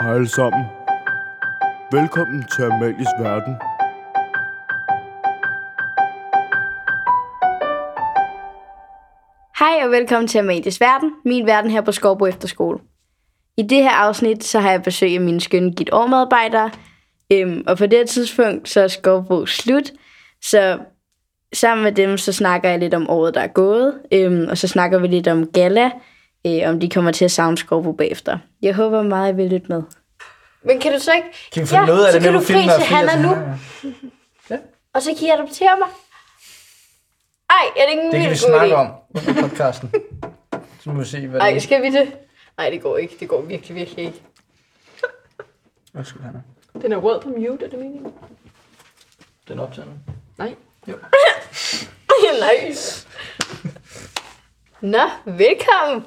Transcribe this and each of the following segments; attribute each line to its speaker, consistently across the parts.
Speaker 1: Hej alle sammen. Velkommen til Amalies Verden.
Speaker 2: Hej og velkommen til Amalies Verden, min verden her på Skovbo Efterskole. I det her afsnit, så har jeg besøg af mine skønne git medarbejdere øhm, og på det her tidspunkt, så er Skovbo slut, så sammen med dem, så snakker jeg lidt om året, der er gået, øhm, og så snakker vi lidt om gala, øh, om de kommer til at savne Skovbo bagefter. Jeg håber meget, at I vil lytte med. Men kan du så ikke...
Speaker 3: Kan vi få noget af
Speaker 2: så
Speaker 3: det
Speaker 2: kan
Speaker 3: med,
Speaker 2: du
Speaker 3: du filmer
Speaker 2: fri til
Speaker 3: og filmer
Speaker 2: Hanna nu,
Speaker 3: til Hanna?
Speaker 2: og så kan I adoptere mig. Ej, er det ikke en
Speaker 3: Det kan vi
Speaker 2: vildt god idé?
Speaker 3: snakke om under podcasten. Så må vi se, hvad det
Speaker 2: Ej,
Speaker 3: er.
Speaker 2: skal vi det?
Speaker 4: Nej, det går ikke. Det går virkelig, virkelig ikke.
Speaker 3: Undskyld, Hanna.
Speaker 4: Den er rød på mute, er det meningen?
Speaker 3: Den optager nu.
Speaker 4: Nej.
Speaker 3: Jo.
Speaker 4: Nej.
Speaker 2: Nå, velkommen.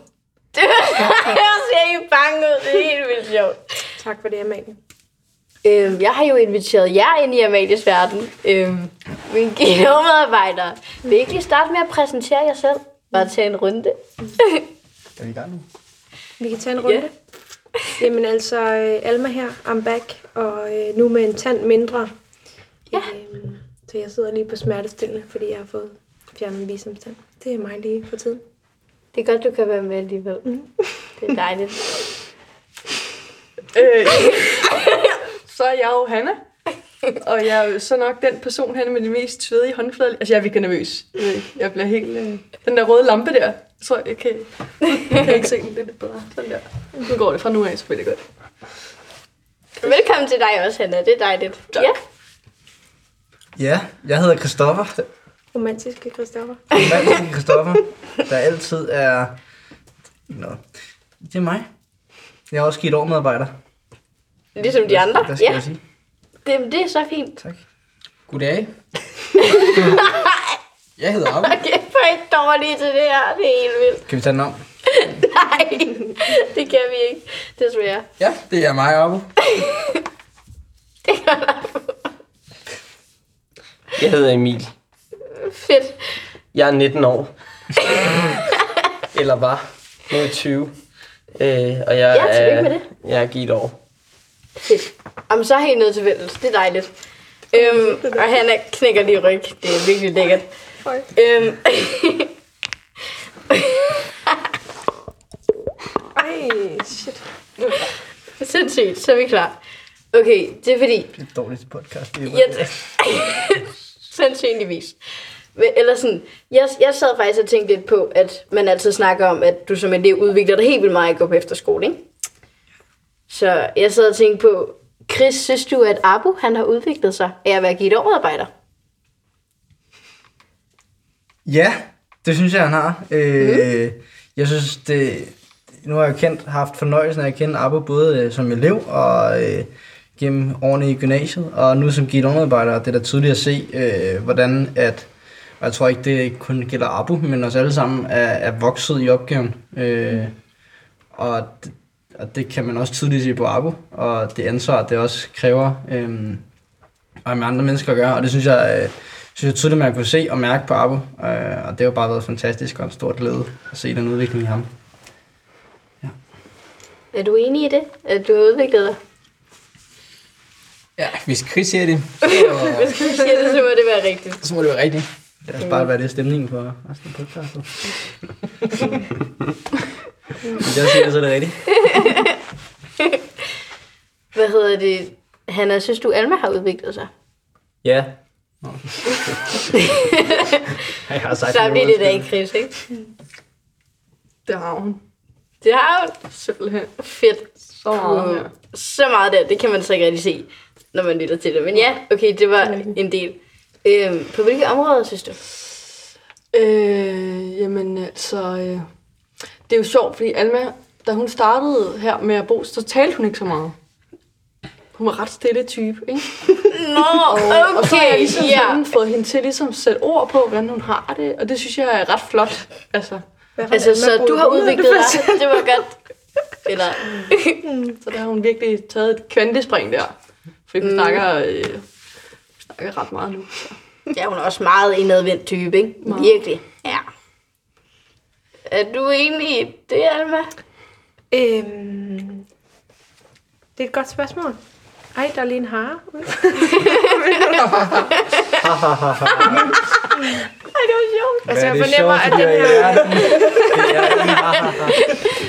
Speaker 2: Det jeg ser I bange ud. Det er helt vildt sjovt.
Speaker 4: Tak for det, Amalie.
Speaker 2: Øhm, jeg har jo inviteret jer ind i Amalies verden. Øhm, mine geomedarbejdere. Vil I ikke lige starte med at præsentere jer selv? Bare tage en runde.
Speaker 3: Er vi i gang nu?
Speaker 5: Vi kan tage en runde.
Speaker 2: Ja.
Speaker 5: Yeah. Jamen altså, øh, Alma her, I'm back, og øh, nu med en tand mindre.
Speaker 2: Ja.
Speaker 5: Øhm, så jeg sidder lige på smertestillende, fordi jeg har fået fjernet en visdomstand. Det er mig lige for tiden.
Speaker 2: Det er godt, du kan være med alligevel.
Speaker 3: Mm.
Speaker 2: Det er dejligt.
Speaker 4: Øh, så er jeg jo Hanna. Og jeg er jo så nok den person, Hanna, med de mest svedige håndflader. Altså, jeg er virkelig nervøs. Jeg ved ikke, Jeg bliver helt... Øh... Den der røde lampe der, jeg tror, jeg kan, jeg kan ikke se den lidt bedre. Sådan der. Nu går det fra nu af, så bliver det godt.
Speaker 2: Velkommen til dig også, Hanna. Det er dejligt.
Speaker 4: Tak.
Speaker 2: Ja.
Speaker 3: Ja, jeg hedder Christoffer.
Speaker 5: Romantiske Christoffer.
Speaker 3: Manden Christoffer, der altid er... Nå, det er mig. Jeg er også givet medarbejder.
Speaker 2: Ligesom de andre.
Speaker 3: Der skal
Speaker 2: Ja,
Speaker 3: jeg sige.
Speaker 2: det, det er så fint.
Speaker 3: Tak. Goddag. jeg hedder Arve.
Speaker 2: Okay, for ikke dårligt til det her. Det er helt vildt.
Speaker 3: Kan vi tage den om?
Speaker 2: Nej, det kan vi ikke. Desværre.
Speaker 3: Ja, det er mig, Arve.
Speaker 6: Jeg hedder Emil.
Speaker 2: Fedt.
Speaker 6: Jeg er 19 år. Eller var. Nu er jeg 20. Øh, og jeg
Speaker 2: Ja, tillykke
Speaker 6: er,
Speaker 2: med det.
Speaker 6: Jeg er givet år.
Speaker 2: Fedt. Jamen, så er helt noget til fælles. Det er dejligt. Øhm, og han er- knækker lige ryg. Det er virkelig lækkert.
Speaker 5: Oj.
Speaker 2: Øhm,
Speaker 5: Ej, shit.
Speaker 2: sindssygt, så er vi klar. Okay, det er fordi,
Speaker 3: Det er et dårligt podcast. Det er
Speaker 2: jeg... Sandsynligvis. Men, eller sådan, jeg, jeg sad faktisk og tænkte lidt på, at man altid snakker om, at du som elev udvikler dig helt vildt meget at gå på efterskole, ikke? Så jeg sad og tænkte på, Chris, synes du, at Abu, han har udviklet sig af at være givet overarbejder?
Speaker 3: Ja, det synes jeg, han har. Øh, Jeg synes, det, nu har jeg kendt, haft fornøjelsen af at kende Abbe både øh, som elev og øh, gennem årene i gymnasiet, og nu som gildomarbejder, og det er da tydeligt at se, øh, hvordan at, og jeg tror ikke, det kun gælder Abu, men os alle sammen er, er vokset i opgaven. Øh, og, det, og det kan man også tydeligt se på Abu, og det ansvar, det også kræver. Øh, og med andre mennesker at gøre, og det synes jeg, øh, synes jeg tydeligt, man kunne se og mærke på Abo, øh, og det har jo bare været fantastisk og en stor glæde at se den udvikling i ham.
Speaker 2: Er du enig i det, at du har udviklet dig?
Speaker 7: Ja, hvis Chris siger det,
Speaker 2: Hvis du siger det, så må det være rigtigt.
Speaker 7: så må det være rigtigt.
Speaker 3: Lad os bare være det stemningen for resten af podcastet. Hvis jeg siger det, så er det rigtigt.
Speaker 2: Hvad hedder det? Hanna, synes du, Alma har udviklet sig?
Speaker 6: Ja.
Speaker 3: Jeg har sagt
Speaker 2: Så
Speaker 3: det,
Speaker 2: bliver det da
Speaker 3: undskyld.
Speaker 2: ikke Chris, ikke?
Speaker 4: Det har hun.
Speaker 2: Det har jo
Speaker 4: Simpelthen.
Speaker 2: fedt.
Speaker 4: Så meget mere.
Speaker 2: Så meget der, det kan man så ikke rigtig se, når man lytter til det. Men ja, okay, det var en del. Øhm, på hvilke områder, synes du?
Speaker 4: Øh, jamen altså, øh, det er jo sjovt, fordi Alma, da hun startede her med at bo, så talte hun ikke så meget. Hun var ret stille type, ikke?
Speaker 2: Nå,
Speaker 4: Og, og så har jeg ligesom
Speaker 2: ja.
Speaker 4: sådan fået hende til ligesom at sætte ord på, hvordan hun har det, og det synes jeg er ret flot. Altså,
Speaker 5: Hvad for
Speaker 2: Altså,
Speaker 5: en Alma
Speaker 2: så du
Speaker 5: boede
Speaker 2: har
Speaker 5: ude?
Speaker 2: udviklet dig. Det var godt. Eller,
Speaker 4: så der har hun virkelig taget et kvantespring der. Fordi
Speaker 2: Mm.
Speaker 4: hun mm. snakker, øh, hun snakker ret meget nu. Så.
Speaker 2: ja, hun er også meget indadvendt type, ikke?
Speaker 4: Meget.
Speaker 2: Virkelig. Ja. Er du enig i det, Alma?
Speaker 5: Øhm, det Det er et godt spørgsmål. Ej, der er lige en hare. ude. Ej, det var sjovt. Altså, jeg fornemmer, at den her,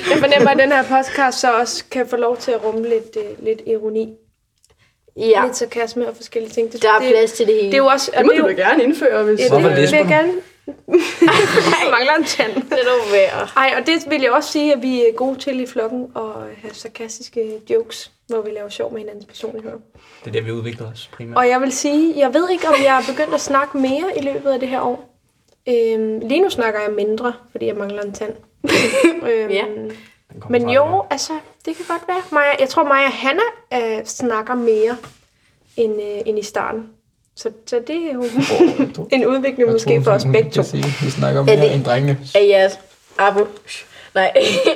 Speaker 5: jeg fornemmer, at den her podcast så også kan få lov til at rumme lidt, øh, lidt ironi.
Speaker 2: Ja,
Speaker 5: Lidt sarkasme og forskellige ting. Det,
Speaker 2: der er
Speaker 5: det,
Speaker 2: plads til det hele.
Speaker 5: Det er jo også...
Speaker 4: Det
Speaker 5: og
Speaker 4: må
Speaker 5: er
Speaker 4: du
Speaker 5: jo-
Speaker 4: da gerne indføre, hvis...
Speaker 5: Ja,
Speaker 7: Hvorfor
Speaker 5: det vil
Speaker 7: lesber
Speaker 5: jeg
Speaker 7: du?
Speaker 5: gerne. Jeg mangler en tand.
Speaker 2: det er dog værd.
Speaker 5: Ej, og det vil jeg også sige, at vi er gode til i flokken at øh, have sarkastiske jokes, hvor vi laver sjov med hinandens personligheder.
Speaker 7: Det er der, vi udvikler os primært.
Speaker 5: Og jeg vil sige, jeg ved ikke, om jeg er begyndt at snakke mere i løbet af det her år. Øhm, lige nu snakker jeg mindre, fordi jeg mangler en tand. øhm,
Speaker 2: Ja.
Speaker 7: Den kommer
Speaker 5: Men
Speaker 7: fra
Speaker 5: jo,
Speaker 7: det her.
Speaker 5: altså, det kan godt være. Maja, jeg tror, Maja og Hanna øh, snakker mere end, øh, end i starten. Så, så det er jo en udvikling
Speaker 7: Jeg
Speaker 5: måske
Speaker 7: tror,
Speaker 5: for os
Speaker 7: hun
Speaker 5: begge to.
Speaker 7: kan sige, Vi snakker om
Speaker 2: Er
Speaker 7: mere
Speaker 2: det-
Speaker 7: end drengene.
Speaker 2: af jeres abo. Nej.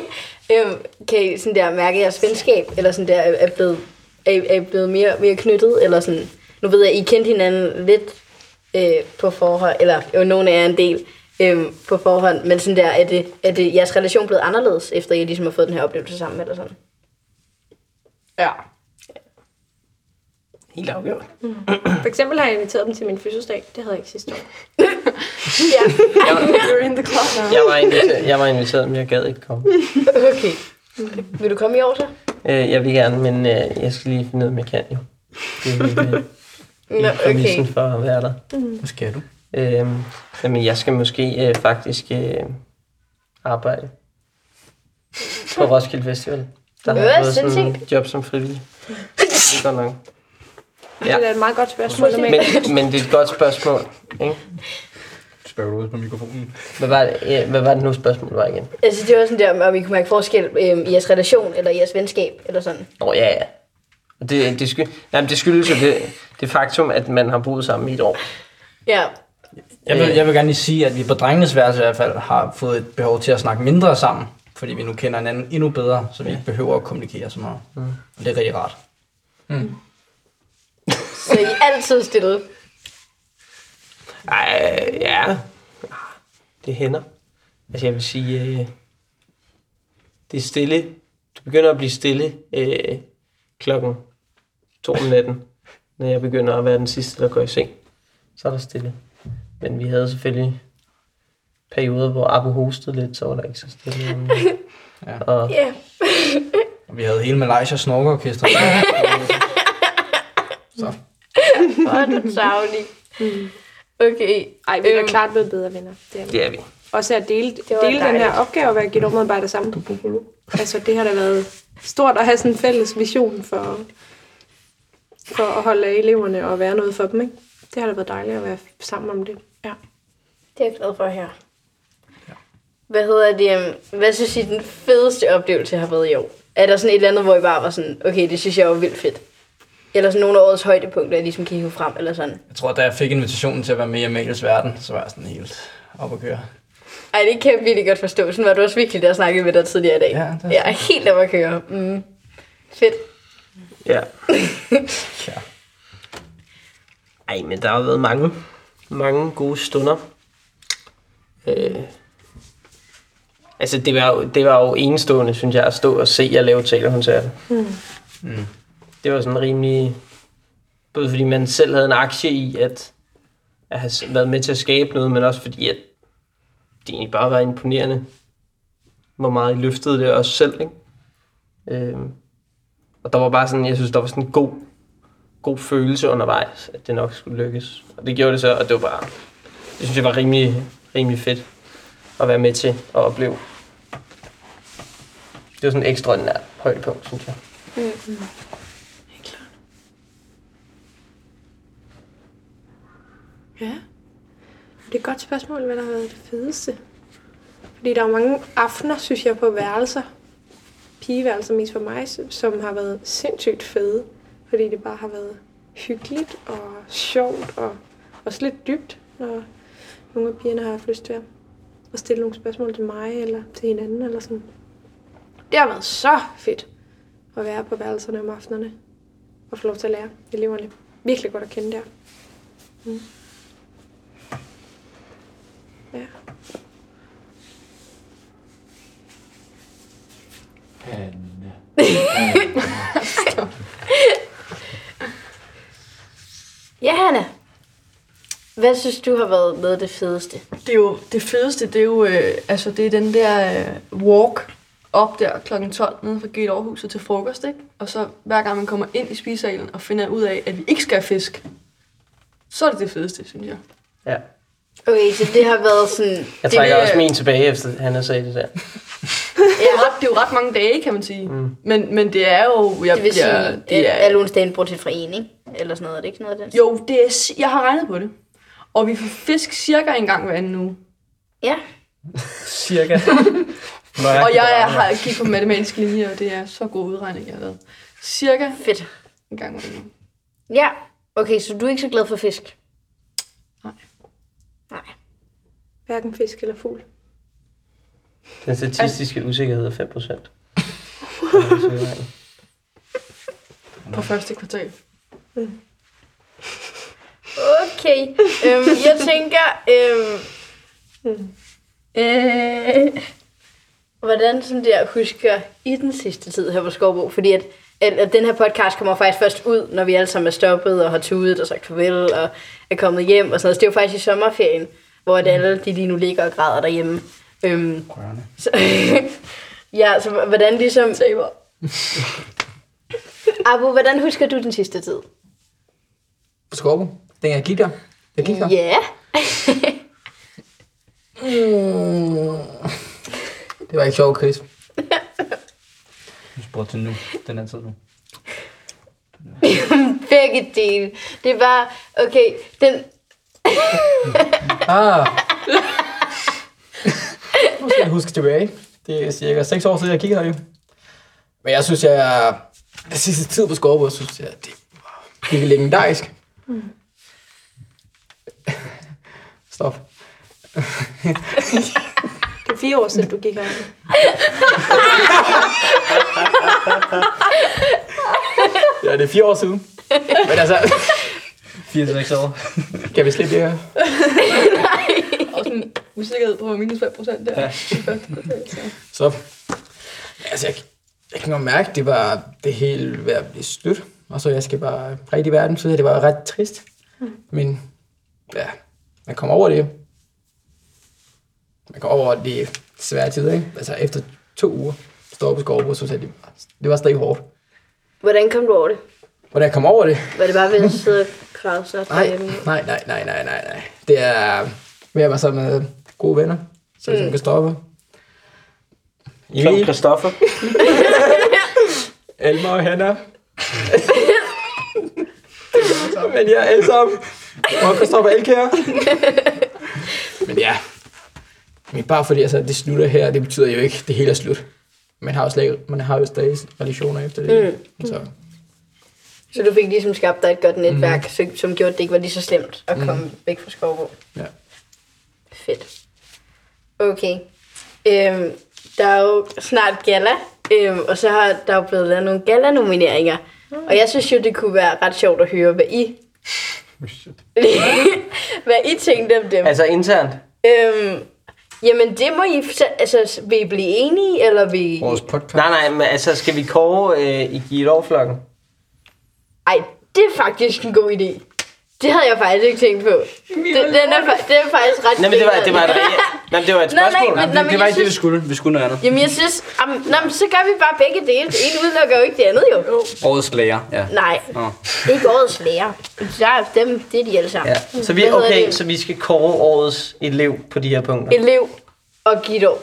Speaker 2: øhm, kan I sådan der mærke, at jeres venskab eller sådan der er er blevet, er, er blevet mere, mere knyttet? Eller sådan, nu ved jeg, I kendte hinanden lidt øh, på forhånd, eller jo, nogen af jer en del øhm, på forhånd, men sådan der, er det, er det jeres relation blevet anderledes, efter I ligesom har fået den her oplevelse sammen eller sådan?
Speaker 4: Ja.
Speaker 6: Helt afgjort.
Speaker 5: For eksempel har jeg inviteret dem til min fødselsdag. Det havde jeg ikke sidste år.
Speaker 4: You're in the club now.
Speaker 6: Jeg var inviteret, jeg var inviteret men jeg gad ikke komme.
Speaker 2: Okay. Vil du komme i år så?
Speaker 6: Øh, jeg vil gerne, men øh, jeg skal lige finde ud af, om jeg kan jo. Det er hele, øh,
Speaker 2: Nå,
Speaker 6: præmissen
Speaker 2: okay.
Speaker 6: for at være der.
Speaker 3: Hvad skal du?
Speaker 6: Øhm, jamen, jeg skal måske øh, faktisk øh, arbejde på Roskilde Festival. Der har
Speaker 2: Øh,
Speaker 6: jeg fået sådan
Speaker 2: sindssygt.
Speaker 6: et job som frivillig. Det går nok.
Speaker 5: Ja. Det er da et meget godt spørgsmål. Men,
Speaker 6: Men, men det er et godt spørgsmål. Ikke?
Speaker 7: Spørger du ud på mikrofonen?
Speaker 6: Hvad, var det, øh, hvad var det nu spørgsmålet var igen?
Speaker 2: Altså, det var sådan der, om- om I kunne mærke forskel øhm, i jeres relation eller i jeres venskab eller sådan.
Speaker 6: Nå ja, ja. Og Det, det, sky, jamen, det skyldes jo det, det faktum, at man har boet sammen i et år.
Speaker 2: Ja,
Speaker 3: Jeg
Speaker 7: Øh.
Speaker 3: vil, jeg vil gerne lige sige, at vi på drengenes værelse i hvert fald har fået et behov til at snakke mindre sammen, fordi vi nu kender hinanden endnu bedre, så vi ikke behøver at kommunikere så meget. Mm. Og det er rigtig rart.
Speaker 2: så I er altid stillet.
Speaker 6: Ej, ja. Det hænder. Altså, jeg vil sige, øh, det er stille. Du begynder at blive stille øh, klokken to om natten, når jeg begynder at være den sidste, der går i seng. Så er der stille. Men vi havde selvfølgelig perioder, hvor Abu hostede lidt, så var der ikke så stille. om natten.
Speaker 3: Ja.
Speaker 6: Og
Speaker 2: Ja.
Speaker 3: Og vi havde hele Malaysia Snorkerorkester.
Speaker 2: Hvor er du savlig. Okay.
Speaker 5: ej, vi er
Speaker 2: Øhm.
Speaker 5: da klart blevet bedre venner. Det er vi.
Speaker 6: det er vi.
Speaker 5: Også at dele,
Speaker 2: var
Speaker 5: dele den her
Speaker 2: dejligt.
Speaker 5: opgave og være givet omarbejder sammen. Du altså, det har da været stort at have sådan en fælles vision for, for at holde af eleverne og være noget for dem, ikke? Det har da været dejligt at være sammen om det. Ja.
Speaker 2: Det er jeg glad for her. Hvad hedder det? øhm, Hvad synes I, den fedeste oplevelse har været i år? Er der sådan et eller andet, hvor I bare var sådan, okay, det synes jeg var vildt fedt? Eller sådan nogle af årets højdepunkter, jeg ligesom kan hive frem, eller sådan?
Speaker 3: Jeg tror, da jeg fik invitationen til at være med i Amalies Verden, så var jeg sådan helt op at køre.
Speaker 2: Ej, det kan jeg virkelig godt forstå. Sådan var du også virkelig, der snakkede med dig tidligere i dag.
Speaker 3: Ja, det er
Speaker 2: jeg er helt op at køre. Mm. Fedt.
Speaker 6: Ja.
Speaker 3: Ja.
Speaker 6: Ej, men der har været mange, mange gode stunder. Øh, altså, det var, jo, det var jo enestående, synes jeg, at stå og se jer lave teaterkoncerter. Mm. Mm. Det var sådan rimelig... Både fordi man selv havde en aktie i at, at have s- været med til at skabe noget, men også fordi, at det egentlig bare var imponerende, hvor meget I løftede det også selv, ikke? Øh, og der var bare sådan, jeg synes, der var sådan en god god følelse undervejs, at det nok skulle lykkes. Og det gjorde det så, og det var bare, det synes jeg var rimelig, rimelig fedt at være med til at opleve. Det var sådan et ekstraordinært højdepunkt, synes jeg.
Speaker 5: Ja. Det er et godt spørgsmål, hvad der har været det fedeste. Fordi der er jo mange aftener, synes jeg, på værelser. Pigeværelser mest for mig, som har været sindssygt fede. Fordi det bare har været hyggeligt og sjovt og også lidt dybt, når nogle af pigerne har haft lyst til at- at stille nogle spørgsmål til mig eller til hinanden eller sådan. Det har været så fedt at være på værelserne om aftenerne og få lov til at lære eleverne virkelig godt at kende der. Ja.
Speaker 2: Hvad synes du har været noget af det fedeste?
Speaker 4: Det er jo det fedeste, det er jo øh, altså, det er den der øh, walk op der kl. 12 nede fra Gate Aarhuset til frokost, ikke? Og så hver gang man kommer ind i spisalen og finder ud af, at vi ikke skal have fisk, så er det det fedeste, synes jeg.
Speaker 6: Ja.
Speaker 2: Okay, så det har været sådan...
Speaker 6: Jeg trækker
Speaker 4: Det-
Speaker 6: også min tilbage, efter han har sagt det der.
Speaker 4: Det er, ret, det er jo ret mange dage, kan man sige. Mm. Men, men det er jo... Jeg,
Speaker 2: Det vil sige,
Speaker 4: jeg, det er,
Speaker 2: at alle onsdagen bortset fra en, ikke? Eller sådan noget, er det ikke noget af den?
Speaker 4: jo, det er, si- jeg har regnet på det. Og vi får fisk cirka en gang hver anden uge.
Speaker 2: Ja.
Speaker 7: Cirka.
Speaker 4: Og jeg er, har gik på matematisk linje, og det er så god udregning, jeg har lavet. Cirka
Speaker 2: Fedt.
Speaker 4: en gang hver anden uge.
Speaker 2: Ja. Okay, så du er ikke så glad for fisk?
Speaker 4: Nej.
Speaker 2: Nej.
Speaker 5: Hverken fisk eller fugl.
Speaker 6: Den statistiske usikkerhed er 5 procent.
Speaker 4: På første kvartal.
Speaker 2: Okay. øhm, jeg tænker... Øhm, øh, hvordan sådan der husker i den sidste tid her på Skovbo? Fordi at, at, at den her podcast kommer faktisk først ud, når vi alle sammen er stoppet og har tudet og sagt farvel og er kommet hjem og sådan noget. Så det er jo faktisk i sommerferien, hvor at alle de lige nu ligger og græder derhjemme. Øhm,
Speaker 3: Rørende.
Speaker 2: Så, ja, så hvordan ligesom...
Speaker 4: Taber.
Speaker 2: Abu, hvordan husker du den sidste tid?
Speaker 7: På Skorbo. Den jeg gik der. Jeg gik der.
Speaker 2: Ja.
Speaker 7: Det var ikke sjovt, Chris.
Speaker 3: Du spurgte til nu, den her tid nu.
Speaker 2: Begge dele. Det er bare, okay, den...
Speaker 7: Ah. nu skal jeg huske tilbage. Det er cirka 6 år siden, jeg kiggede her jo. Men jeg synes, jeg... Den sidste tid på Skorbo, synes jeg, det var virkelig legendarisk. Stop.
Speaker 5: Det er fire år siden, du gik her.
Speaker 7: Ja, det er fire år siden. Men altså,
Speaker 3: 4-6 år.
Speaker 7: kan vi slippe det her?
Speaker 4: Og sådan usikkerhed på minus 5 procent der. Ja. Første kvartal, så.
Speaker 7: Så, altså, jeg, jeg kan godt mærke, det var det hele ved at blive slut. Og så jeg skal bare rigtig i verden, så det var ret trist. Men ja, man kommer over det. Man kommer over de svære tider, ikke? Altså efter to uger, står på Skovbo, så synes jeg, det var, det var stadig hårdt.
Speaker 2: Hvordan kom du over det?
Speaker 7: Og da jeg kom over det,
Speaker 2: Var det bare ved at sidde og græde sig
Speaker 7: nej, nej, nej, nej, nej, nej, nej. Det er ved at være sammen med gode venner, så mm. kan stoppe.
Speaker 6: Klog Christoffer.
Speaker 7: Alma og Hanna. Men ja, alle sammen. Og Christoffer Elkær. Men ja. Men bare fordi altså, det slutter her, det betyder jo ikke, det hele er slut. Man har jo, slet, man har jo stadig relationer efter det. Mm. Så
Speaker 2: Så du fik ligesom skabt dig et godt netværk, mm. som, som gjorde, at det ikke var lige så slemt at komme mm. væk fra Skovbo.
Speaker 7: ja.
Speaker 2: Fedt. Okay. Øhm, der er jo snart gala, øhm, og så har der jo blevet lavet nogle gala-nomineringer. Mm. Og jeg synes jo, det kunne være ret sjovt at høre, hvad I... hvad I tænkte om dem.
Speaker 6: Altså internt.
Speaker 2: Øhm, jamen, det må I... f- Altså, vil I blive enige, eller vil I...
Speaker 3: Vores podcast.
Speaker 6: Nej, nej, men altså, skal vi kåre øh, i Gilovflokken?
Speaker 2: Ej, det er faktisk en god idé. Det havde jeg faktisk ikke tænkt på. Det, den er, fa- det er faktisk ret
Speaker 6: Nej, men det var, det var
Speaker 2: grineren.
Speaker 6: et, reelt- nej, men det var et
Speaker 2: Nej, nej,
Speaker 6: spørgsmål.
Speaker 2: men-
Speaker 6: Nej,
Speaker 2: nej, men
Speaker 3: det var
Speaker 2: jeg
Speaker 3: ikke det, vi
Speaker 2: synes-
Speaker 3: skulle. Vi skulle noget andet.
Speaker 2: Jamen, jeg synes... Am, nå, men så gør vi bare begge dele. Det ene udelukker jo ikke det andet, jo.
Speaker 3: Årets lærer, ja.
Speaker 2: Nej,
Speaker 3: Nå.
Speaker 2: ikke årets lærer. Der er dem, det er de alle sammen.
Speaker 6: Ja. Så vi,
Speaker 2: Hvad hedder
Speaker 6: okay,
Speaker 2: det?
Speaker 6: så vi skal kåre årets elev på de her punkter.
Speaker 2: Elev og Gido.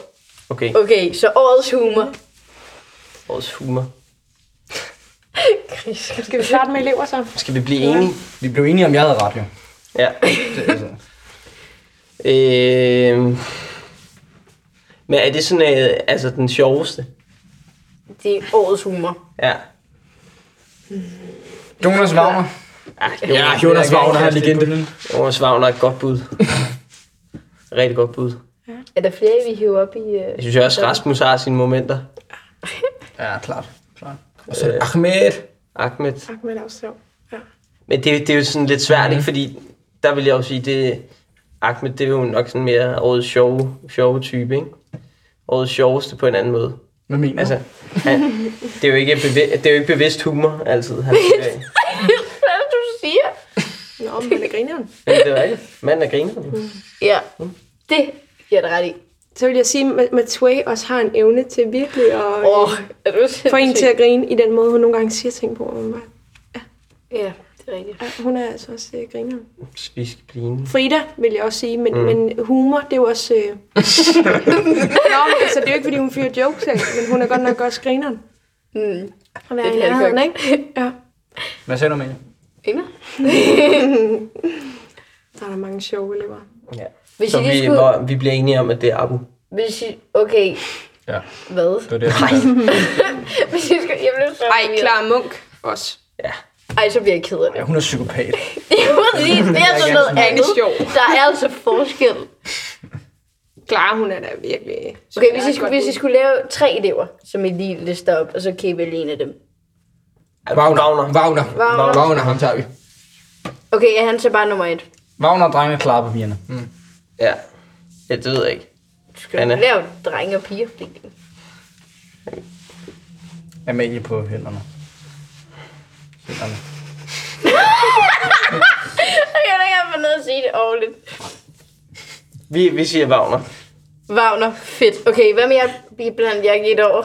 Speaker 6: Okay,
Speaker 2: Okay, så årets humor.
Speaker 6: årets humor.
Speaker 5: Skal vi starte med elever så?
Speaker 6: Skal vi blive enige?
Speaker 3: Vi blev enige om, jeg havde ret, jo.
Speaker 6: Ja.
Speaker 3: Det, altså.
Speaker 6: Øh, men er det sådan, øh, altså den sjoveste?
Speaker 2: Det er årets humor.
Speaker 6: Ja.
Speaker 3: Jonas Wagner.
Speaker 6: Ja,
Speaker 7: Jonas Wagner er en legende.
Speaker 6: Ah, Jonas Wagner er et godt bud. Rigtig godt bud.
Speaker 2: Er der flere, vi hiver op i... øh,
Speaker 6: Jeg synes også, Rasmus har sine momenter.
Speaker 3: Ja, klart. klart.
Speaker 7: Og så er det Ahmed.
Speaker 6: Ahmed.
Speaker 5: Tak med afslag. Ja.
Speaker 6: Men det, det er jo sådan lidt svært,
Speaker 2: Mhm.
Speaker 6: ikke? Fordi der vil jeg jo sige, det, Ahmed, det er jo nok sådan mere årets sjove, sjove type, ikke? Årets sjoveste på en anden måde.
Speaker 7: Hvad mener
Speaker 6: Altså, han, det, er jo ikke bevidst, det er jo ikke bevidst humor altid. Han,
Speaker 2: Hvad er det, du siger?
Speaker 5: Nå, men det grineren.
Speaker 6: Ja, det er rigtigt. Manden er grineren.
Speaker 2: Mhm. Ja, det giver det ret i.
Speaker 5: Så vil jeg sige, at Ma- Matway også har en evne til virkelig at
Speaker 2: Åh,
Speaker 5: oh,
Speaker 2: oh, er du sindssyg?
Speaker 5: få en til at grine i den måde, hun nogle gange siger ting på. Hun, bare,
Speaker 2: Ja, det er rigtigt.
Speaker 5: ja, hun er altså også øh, grineren.
Speaker 6: Spisk pline.
Speaker 5: Frida, vil jeg også sige, men, mm. men humor, det er jo også... Øh... Nå, altså, det er jo ikke, fordi hun fyrer jokes af, men hun er godt nok også grineren.
Speaker 2: Mm.
Speaker 5: Hun er
Speaker 2: Lidt
Speaker 5: i nærheden,
Speaker 2: Hancock.
Speaker 5: ikke? Ja.
Speaker 3: Hvad sagde du, Amalie?
Speaker 2: Inger?
Speaker 5: Der er der mange sjove elever.
Speaker 6: Ja.
Speaker 2: Hvis
Speaker 6: Så
Speaker 2: I lige
Speaker 6: vi,
Speaker 2: skulle-
Speaker 6: hvor, vi bliver enige om, at det er Abu.
Speaker 2: Hvis I... Okay.
Speaker 3: Ja.
Speaker 2: Hvad?
Speaker 3: var det, jeg
Speaker 2: Hvis I skal... Jeg blev så
Speaker 5: Ej,
Speaker 2: forvirret.
Speaker 5: Clara Munk også.
Speaker 2: Ej, så bliver jeg ked af det.
Speaker 3: Ja, hun er psykopat.
Speaker 2: Præcis, det er sådan noget
Speaker 5: Det
Speaker 2: andet.
Speaker 5: er sjov.
Speaker 2: Der er altså forskel.
Speaker 5: Clara, hun er da virkelig...
Speaker 2: Okay, hvis I, skulle, hvis I skulle lave tre elever, som I lige lister op, og så kan I vælge en af dem.
Speaker 7: Wagner. Wagner. Wagner.
Speaker 2: Wagner.
Speaker 7: Wagner, ham tager vi.
Speaker 2: Okay, ja, han tager bare nummer et.
Speaker 3: Wagner og drenge klarer på pigerne. Mm.
Speaker 6: Ja. ja, det ved jeg ikke.
Speaker 2: Du skal
Speaker 6: Anna.
Speaker 2: Anna. lave drenge og piger.
Speaker 3: Amalie på hænderne. Hænderne.
Speaker 2: Jeg kan da ikke få noget at sige det ordentligt.
Speaker 6: Vi, vi siger Wagner.
Speaker 2: Wagner, fedt. Okay, hvad med jer? Vi blandt jer et over.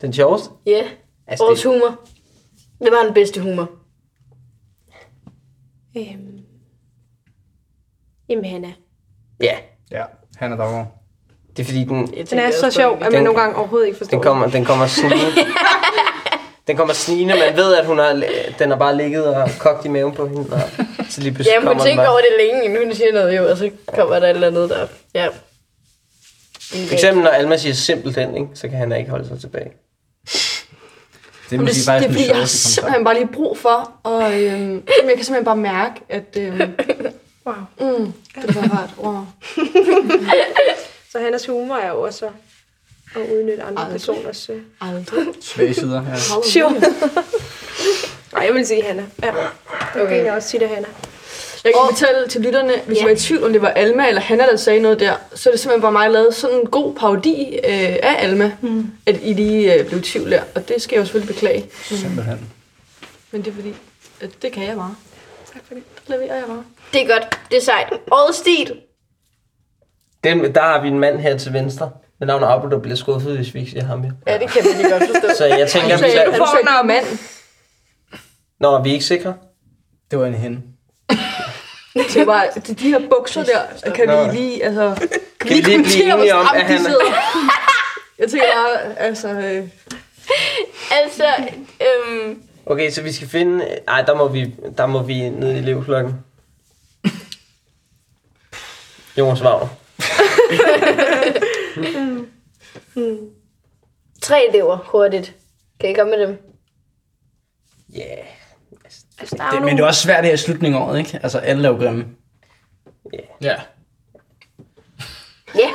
Speaker 6: Den sjoveste?
Speaker 2: Ja, yeah.
Speaker 6: Altså,
Speaker 2: årets
Speaker 6: det,
Speaker 2: humor. Det var den bedste humor.
Speaker 5: Øhm. Jamen, Hanna.
Speaker 6: ja,
Speaker 3: Ja, han er derovre.
Speaker 6: det er fordi, den,
Speaker 2: Jeg
Speaker 5: Den
Speaker 2: tænker
Speaker 5: er
Speaker 2: også
Speaker 5: så
Speaker 2: på
Speaker 5: sjov,
Speaker 2: den.
Speaker 5: at man nogle gange overhovedet ikke forstår
Speaker 6: den kommer, den kommer snigende. den kommer snigende. Man ved, at hun har, den har bare ligget og kogt i maven på hende. Og så lige pludselig
Speaker 2: Ja, hun
Speaker 6: kommer den
Speaker 2: tænker
Speaker 6: bare.
Speaker 2: over det længe, inden hun siger noget, jo, og så kommer der et eller andet der. Ja. øh,
Speaker 6: For eksempel, når Alma siger simpelthen, ikke, så kan han ikke holde sig tilbage.
Speaker 3: Det er
Speaker 4: Jamen, det,
Speaker 3: måske
Speaker 4: det, det
Speaker 3: faktisk
Speaker 4: er
Speaker 3: den
Speaker 4: fordi, jeg har
Speaker 3: sjoveste kontakt.
Speaker 4: simpelthen bare lige brug for, og øhm, jamen, jeg kan simpelthen bare mærke, at øhm,
Speaker 5: Wow.
Speaker 4: mm, det var rart. Wow.
Speaker 5: Så Hannas humor er jo også at udnytte andre Aldrig. personers... Øh.
Speaker 4: Aldrig.
Speaker 3: Svage sider. Ja.
Speaker 5: Sjov. Nej, jeg vil sige Hanna. Ja. Okay. Jeg også sige det, Hanna.
Speaker 4: Jeg kan fortælle til lytterne, hvis I var i tvivl, om det var Alma eller Hanna, der sagde noget der, så er det simpelthen bare mig, der lavede sådan en god parodi øh, af Alma, mm. at I lige øh, blev i tvivl der, og det skal jeg jo selvfølgelig beklage.
Speaker 3: Simpelthen.
Speaker 4: Men det er fordi, at det kan jeg bare.
Speaker 5: Tak for det.
Speaker 4: Det leverer jeg bare.
Speaker 2: Det er godt. Det er sejt. Årets stil.
Speaker 6: Den, der har vi en mand her til venstre. Med navn er Abu, der bliver skuffet, hvis vi ikke siger ham her.
Speaker 2: Ja, det kan man lige godt forstå.
Speaker 6: Så jeg tænker, at vi
Speaker 4: Sagde,
Speaker 6: lader...
Speaker 4: han sagde,
Speaker 5: Når mand.
Speaker 6: Nå, er vi ikke sikre?
Speaker 3: Det var en hende.
Speaker 4: det er bare, det er de her bukser der, kan
Speaker 6: Nå.
Speaker 4: vi lige, altså,
Speaker 6: Kan vi lige blive enige om, at han...
Speaker 4: Jeg tænker bare, altså, øh,
Speaker 2: Altså, øhm,
Speaker 6: Okay, så vi skal finde... Ej, der må vi, der må vi ned i elevflokken. Jonas Wagner.
Speaker 2: tre elever hurtigt. Kan I komme med dem?
Speaker 6: Ja. Yeah.
Speaker 2: Altså, der er
Speaker 3: Det,
Speaker 2: jo
Speaker 3: men det er
Speaker 2: nogle-
Speaker 3: også svært det her i slutningen af året, ikke? Altså, alle er jo grimme.
Speaker 7: Ja.
Speaker 2: Ja,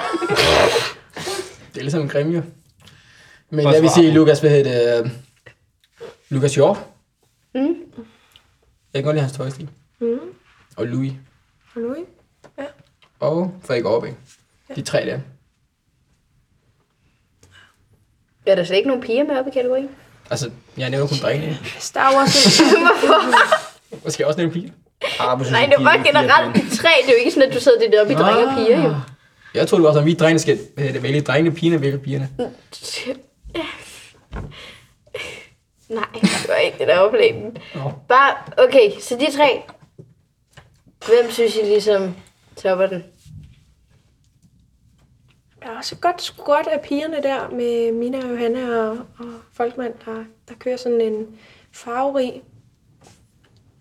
Speaker 7: Det er ligesom en grim, jo. Men
Speaker 3: Bare
Speaker 7: jeg vil
Speaker 3: svar.
Speaker 7: sige, Lukas, hvad hedder det? øh, Lukas Hjort. Mm. Jeg kan godt lide hans tøjstil.
Speaker 5: Mm.
Speaker 7: Og Louis.
Speaker 5: Og Louis.
Speaker 7: Og Frederik Aarbæk. De tre der.
Speaker 2: er der slet ikke nogen piger med op i kategorien?
Speaker 7: Altså, jeg nævner kun drengene.
Speaker 5: Hvis Der er jo også en...
Speaker 7: Måske også nævne piger.
Speaker 3: Arbe,
Speaker 2: Nej, det var generelt de tre. Det er jo ikke sådan, at du sidder det der op i drenge og piger, jo.
Speaker 7: Jeg tror, det var sådan, at vi drengene skal hvad hedder det, vælge drengene, pigerne vælge pigerne.
Speaker 2: Nej, det var ikke det, der var planen.
Speaker 7: Nå.
Speaker 2: Bare, okay, så de tre. Hvem synes I ligesom topper den?
Speaker 5: Der er også et godt skråt af pigerne der med Mina og Johanna og, og Folkmand, der, der kører sådan en farverig,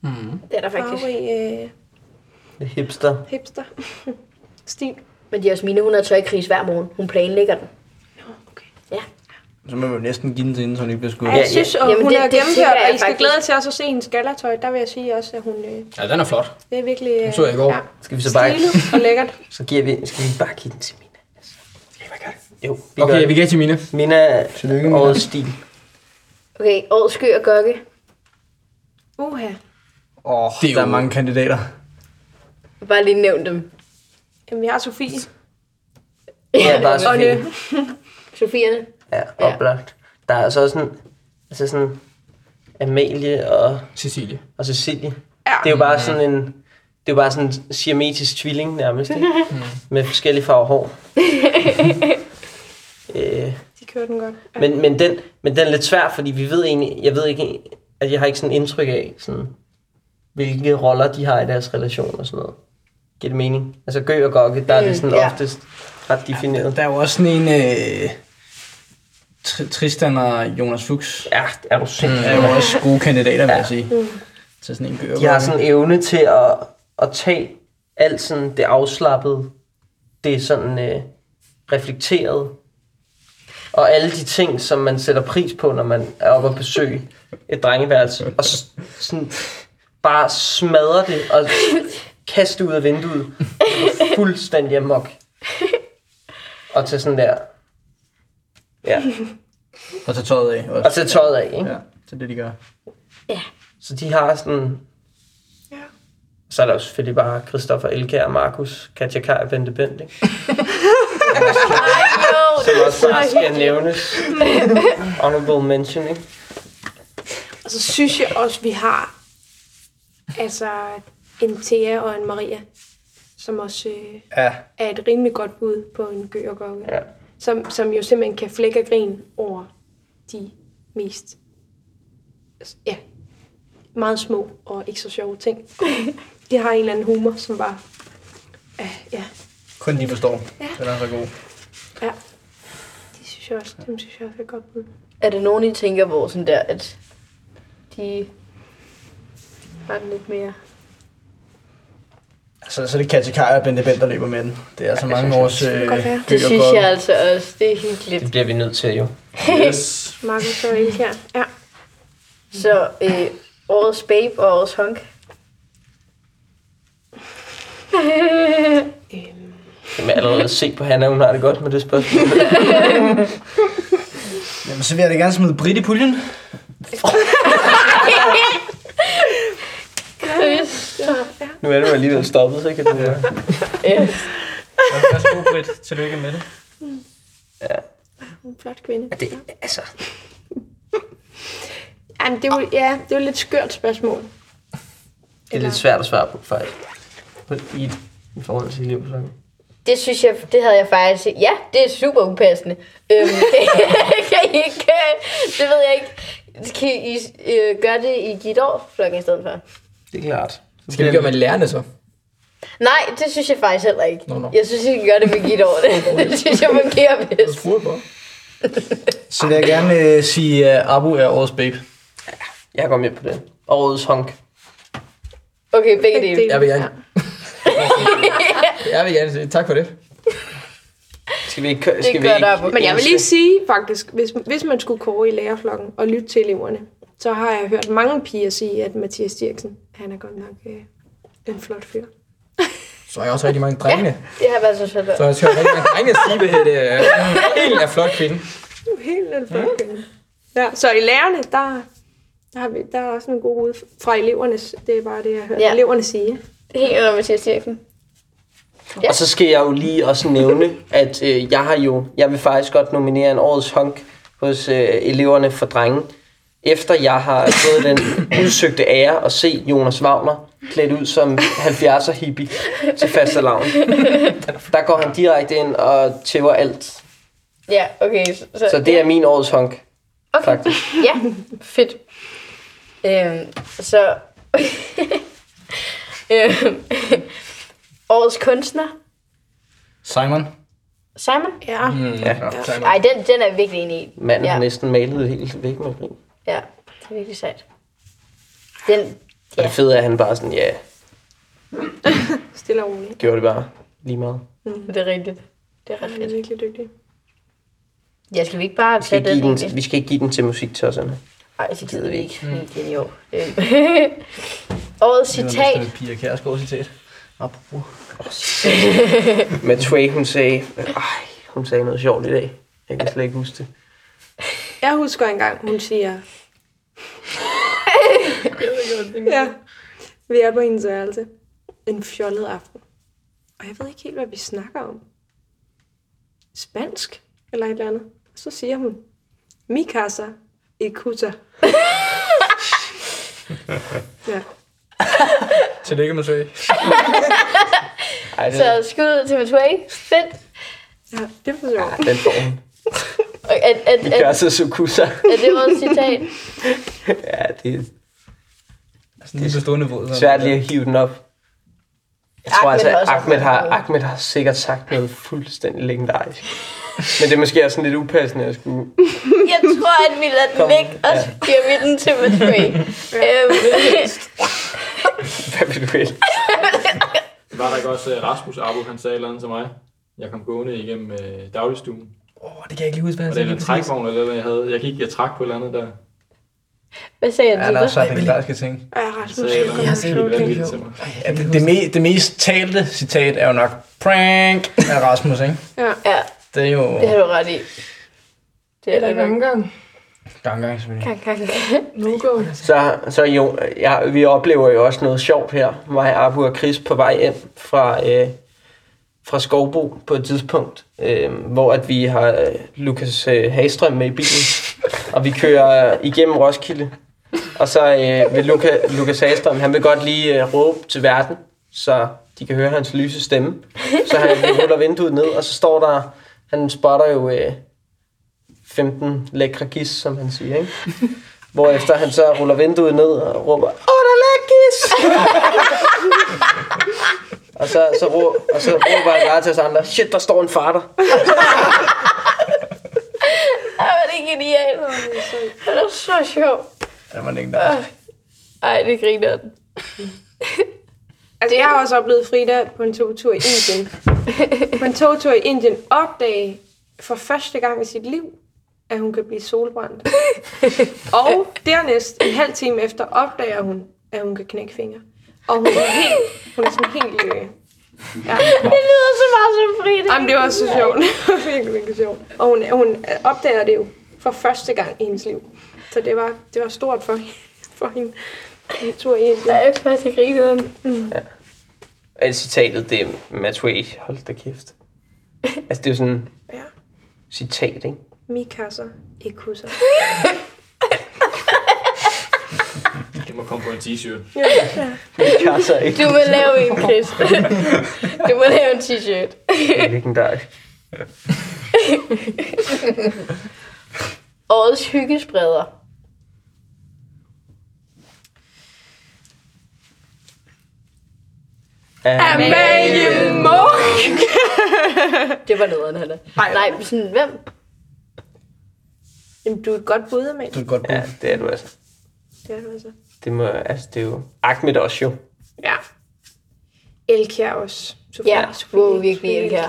Speaker 2: Det er der faktisk.
Speaker 5: farverig øh,
Speaker 6: Hipster.
Speaker 5: hipster stil.
Speaker 2: Men Jasmine, hun har tøjkris hver morgen. Hun planlægger den.
Speaker 5: Okay.
Speaker 3: Så må vi jo næsten give den til hende, så hun ikke bliver skudt.
Speaker 5: Ja, jeg
Speaker 6: ja.
Speaker 5: synes, at
Speaker 2: Jamen,
Speaker 5: hun
Speaker 2: det-
Speaker 5: er
Speaker 2: det tænker
Speaker 5: gennemført,
Speaker 2: jeg
Speaker 5: og I skal
Speaker 2: faktisk.
Speaker 5: glæde jer til også at se hendes gallertøj. Der vil jeg sige også, at hun øh,
Speaker 7: Ja, den er flot.
Speaker 5: det er virkelig øh,
Speaker 7: Den så jeg i går.
Speaker 5: Ja,
Speaker 6: Skal vi så bare...
Speaker 5: stilet og lækkert.
Speaker 6: Så giver vi... Skal vi bare give den til Mina? Skal vi bare gøre det? Jo, vi
Speaker 7: Okay,
Speaker 6: gør
Speaker 7: vi
Speaker 6: det.
Speaker 7: kan til mine.
Speaker 6: Mina,
Speaker 7: Tillykke, Mina.
Speaker 6: årets stil.
Speaker 2: Okay, årets sky og gokke.
Speaker 5: Uha.
Speaker 3: Åh, oh,
Speaker 7: Det er
Speaker 3: der er
Speaker 7: jo-
Speaker 3: mange kandidater.
Speaker 2: Bare lige nævn dem.
Speaker 5: Jamen, vi har Sofie.
Speaker 6: Ja, bare
Speaker 5: Og det,
Speaker 6: Sofie.
Speaker 2: Sofierne.
Speaker 6: Ja, oplagt. Der er så også sådan... Altså sådan... Amalie og,
Speaker 7: Cecilie. Mm.
Speaker 6: og Cecilie. Det er jo bare sådan en... Det er jo bare sådan en siametisk tvilling nærmest, ikke? Med forskellige farver hår. øh,
Speaker 5: De kører den godt. Ja.
Speaker 6: men, men, den, men den er lidt svær, fordi vi ved egentlig, jeg ved ikke, at jeg har ikke sådan indtryk af, sådan, hvilke roller de har i deres relation og sådan noget. Giver det mening? Altså Gø og Gokke, der er det sådan
Speaker 2: Mm, ja.
Speaker 6: oftest ret defineret.
Speaker 3: Der er jo også sådan en... Øh, Tr- Tristan og Jonas Fuchs
Speaker 6: Ja, er du sindssygt.
Speaker 3: er jo også gode kandidater, vil jeg sige.
Speaker 5: Mm.
Speaker 3: Til sådan en gør.
Speaker 6: De har sådan en evne til at, at tage alt sådan det afslappede, det sådan øh, reflekteret, og alle de ting, som man sætter pris på, når man er oppe og besøge et drengeværelse, og s- sådan bare smadre det og kaste ud af vinduet fuldstændig amok. Og tage sådan der. Ja.
Speaker 3: Og tage tøjet af.
Speaker 6: Og tage tøjet af, ikke?
Speaker 3: Ja, det er det, de gør.
Speaker 6: Så de har sådan...
Speaker 5: Ja.
Speaker 6: Så er der jo selvfølgelig bare Christoffer Elkær, Markus, Katja Kaj og Bente Bent, ikke?
Speaker 2: Jo,
Speaker 6: Som også bare skal nævnes. Honorable mention, ikke?
Speaker 5: Og så synes jeg også, vi har altså en Thea og en Maria, som også øh,
Speaker 3: Ja.
Speaker 5: er et rimelig godt bud på en gø og gokke.
Speaker 6: Ja.
Speaker 5: Som, som jo simpelthen kan flække og grin over de mest altså, ja, meget små og ikke så sjove ting. De har en eller anden humor, som bare... Øh, ja,
Speaker 3: Kun de forstår.
Speaker 5: Ja.
Speaker 3: Den er så god.
Speaker 5: ja. De synes jeg også, dem synes jeg også er et godt bud.
Speaker 2: Er det nogen, I tænker på sådan der, at de har den lidt mere...
Speaker 3: Så, så er det Katja Kaj og Bente Bent, der løber med den. Det er altså mange års øh,
Speaker 5: godt være.
Speaker 2: Det
Speaker 3: Gøg og
Speaker 2: synes
Speaker 3: Gokke.
Speaker 2: jeg altså også, det er hyggeligt.
Speaker 6: Det bliver vi nødt til, jo.
Speaker 3: Yes.
Speaker 5: Markus og Elke her. Ja.
Speaker 2: Så øh, årets babe og årets honk.
Speaker 6: Kan man allerede se på Hanna, hun har det godt med det spørgsmål.
Speaker 3: Jamen, så vil jeg da gerne smide Britt i puljen.
Speaker 6: Nu er du alligevel stoppet, så kan det være.
Speaker 3: Værsgo, Britt. Tillykke med det.
Speaker 5: En flot kvinde.
Speaker 6: Det, altså,
Speaker 5: Jamen, det er jo, ja, det er jo et lidt skørt spørgsmål.
Speaker 6: det er lidt svært at svare på, faktisk. På- I, i forhold til liv, så.
Speaker 2: Det synes jeg, det havde jeg faktisk... Ja, det er super upassende. Øhm, det, kan I ikke... øh, Det ved jeg ikke. Kan I øh, gøre det i dit år, flokken i stedet for?
Speaker 6: Det er klart.
Speaker 7: Skal vi gøre med lærerne så?
Speaker 2: Nej, det synes jeg faktisk heller ikke.
Speaker 7: Nå, nå.
Speaker 2: Jeg synes, I kan gøre det med dit år. Det, det synes jeg fungerer bedst.
Speaker 3: Så vil jeg gerne øh, sige, at Abu er årets babe.
Speaker 6: Jeg går med på det. Årets honk.
Speaker 2: Okay, begge
Speaker 5: Begge
Speaker 2: dele.
Speaker 7: Jeg vil gerne. jeg vil gerne sige tak for det.
Speaker 6: Skal vi ikke... kø- Skal vi
Speaker 2: gør
Speaker 6: ikke
Speaker 2: der på-
Speaker 5: Men jeg vil lige sige faktisk, hvis, hvis man skulle kåre i lærerflokken og lytte til eleverne, så har jeg hørt mange piger sige, at Mathias Dirksen, han er godt nok øh, en flot fyr.
Speaker 7: Så har jeg også rigtig mange drenge.
Speaker 2: Det har været så svært.
Speaker 7: Så har jeg også hørt rigtig mange drenge sige, at det er helt er flot kvinde.
Speaker 5: Du er Helt en flot kvinde. Ja, så i lærerne, der, der, har vi, der er også nogle gode ud fra elevernes, det er bare det, jeg har hørt
Speaker 2: Ja.
Speaker 5: ja. eleverne sige.
Speaker 2: Helt under Mathias Dirksen. Ja.
Speaker 6: Og så skal jeg jo lige også nævne, at øh, jeg har jo, jeg vil faktisk godt nominere en årets honk hos øh, eleverne for drenge. Efter jeg har fået den udsøgte ære at se Jonas Wagner klædt ud som 70'er hippie til fastelavn. Der går han direkte ind og tæver alt.
Speaker 2: Ja, okay. Så,
Speaker 6: Så det er min årets honk.
Speaker 2: Okay.
Speaker 6: Faktisk.
Speaker 2: Ja, fedt. Øhm, så... øhm, årets kunstner,
Speaker 3: Simon.
Speaker 2: Simon?
Speaker 5: Ja,
Speaker 7: Mm.
Speaker 6: Ja.
Speaker 7: Simon.
Speaker 2: Nej, den, den er jeg virkelig enig i.
Speaker 6: Manden
Speaker 2: Ja.
Speaker 6: har næsten malet helt væk med grin.
Speaker 2: Ja, det er virkelig sejt. Den,
Speaker 6: Og det fede er, at han bare sådan, ja,
Speaker 5: stille og roligt.
Speaker 6: gjorde det bare lige meget.
Speaker 2: det er rigtigt. Det er ret
Speaker 5: Han er
Speaker 2: fedt.
Speaker 5: virkelig dygtig.
Speaker 2: Ja, skal vi ikke bare
Speaker 6: Vi skal,
Speaker 2: tage
Speaker 6: ikke
Speaker 2: den?
Speaker 6: give
Speaker 2: egentlig?
Speaker 6: den, vi skal ikke give den til musiktosserne.
Speaker 2: Nej, det gider vi ikke. Mm. Det er jo. Øhm. Årets citat.
Speaker 3: Pia Kjærsgaard citat. Apropos.
Speaker 6: Men Trey, hun sagde, ej, hun sagde noget sjovt i dag. Jeg kan slet ikke huske det.
Speaker 5: Jeg husker engang, hun siger,
Speaker 4: Jeg ved ikke, hvad det er.
Speaker 5: Ja. Vi er på hendes værelse. En fjollet aften. Og jeg ved ikke helt, hvad vi snakker om. Spansk? Eller et eller andet. Og så siger hun, mi casa y cuta. ja.
Speaker 7: Tillykke med Søge.
Speaker 6: Ej, den,
Speaker 2: Så skud ud til Matuei. Fedt.
Speaker 5: Ja, det var sjovt.
Speaker 6: den får hun.
Speaker 2: Og Er, er,
Speaker 6: Vi
Speaker 2: er,
Speaker 6: gør så sukusa.
Speaker 2: er det vores citat?
Speaker 6: Ja, det er
Speaker 7: Sådan Altså, lige på stående fod. så-
Speaker 6: svært lige at hive den op. Jeg tror
Speaker 2: Ahmed
Speaker 6: altså,
Speaker 2: har
Speaker 6: at
Speaker 2: også
Speaker 6: Ahmed
Speaker 2: haft
Speaker 6: har,
Speaker 2: noget.
Speaker 6: Ahmed har sikkert sagt noget fuldstændig legendarisk. Men det er måske også sådan lidt upassende at skulle...
Speaker 2: Jeg tror, at vi lader den
Speaker 6: Kom.
Speaker 2: ligge, og så giver vi den til Matuei. øhm,
Speaker 6: Hvad vil du helst?
Speaker 8: Var der ikke også øh, Rasmus Abu, han sagde et eller andet til mig? Jeg kom gående igennem øh, dagligstuen.
Speaker 7: Åh, det kan jeg ikke lige huske, hvad han
Speaker 8: Var det
Speaker 7: sagde.
Speaker 8: en trækvogn eller hvad jeg havde? Jeg gik jeg trak på et eller andet der.
Speaker 2: hvad sagde
Speaker 3: Ja,
Speaker 2: jeg til
Speaker 3: der er
Speaker 2: dig?
Speaker 3: så legendariske ting.
Speaker 5: Og jeg er ret
Speaker 8: Så sagde jeg et eller andet helt vanvittigt til mig.
Speaker 7: Ja, det, det, me, det mest talte citat er jo nok prank af Rasmus, ikke?
Speaker 5: Ja.
Speaker 2: Ja,
Speaker 7: Det er jo
Speaker 2: det har du ret i. Det er
Speaker 4: Eller
Speaker 2: der
Speaker 4: en
Speaker 2: nok.
Speaker 4: omgang.
Speaker 7: ganggang, selvfølgelig.
Speaker 2: Gang, gang, gang.
Speaker 4: No-go.
Speaker 6: Så, så jo, ja, vi oplever jo også noget sjovt her. Mig, Abu og Chris på vej hjem fra, øh, fra Skovbo på et tidspunkt, øh, hvor at vi har øh, Lukas øh, Hagstrøm med i bilen, og vi kører øh, igennem Roskilde. Og så øh, vil Luka, Lukas Hagstrøm, han vil godt lige øh, råbe til verden, så de kan høre hans lyse stemme. Så han vi ruller vinduet ned, og så står der, han spotter jo øh, 15 lækre gis, som han siger, ikke? Hvorefter han så ruller vinduet ned og råber, Åh, der er lækkis! og, så, så rå, og så råber han bare til os andre, shit, der står en farter.
Speaker 2: Ej, hvor er det genialt. Det er så sjovt.
Speaker 7: Det var legendarisk.
Speaker 2: Ej, det griner den.
Speaker 5: Altså, jeg har også oplevet Frida på en togtur i Indien. På en togtur i Indien opdage for første gang i sit liv, at hun kan blive solbrændt. Og dernæst, en halv time efter, opdager hun, at hun kan knække fingre. Og hun er helt, hun er sådan helt... Øh, ja.
Speaker 2: Det lyder så meget som Frida.
Speaker 5: Jamen, det var så sjovt. Det var virkelig, virkelig sjovt. Og hun, hun opdager det jo for første gang i hendes liv. Så det var, det var stort for, for hende. En tur i Indien.
Speaker 2: Ej, hvor er det griner den.
Speaker 6: Altså, citatet, det er Matway, hold da kæft. Altså, det er jo sådan
Speaker 5: Ja.
Speaker 6: citat, ikke?
Speaker 5: Mikasa, ikke kusser.
Speaker 8: Jeg må komme på en t-shirt.
Speaker 6: Det kan så ikke.
Speaker 2: Du må lave en, Chris. Du må lave en t-shirt.
Speaker 6: Det er legendarisk.
Speaker 2: Årets hyggespreder.
Speaker 6: Amen.
Speaker 5: Amalie Munk!
Speaker 2: Det var noget, Hanna. Nej, men sådan, hvem?
Speaker 5: Jamen, du er et godt bud, mand.
Speaker 7: Du er et godt bud.
Speaker 6: Ja, det er du altså.
Speaker 5: Det er du altså.
Speaker 6: Det, må, altså, det er jo Ahmed også jo.
Speaker 5: Ja. Elkjær også. Sofie,
Speaker 2: Ja, wow, virkelig Elkjær.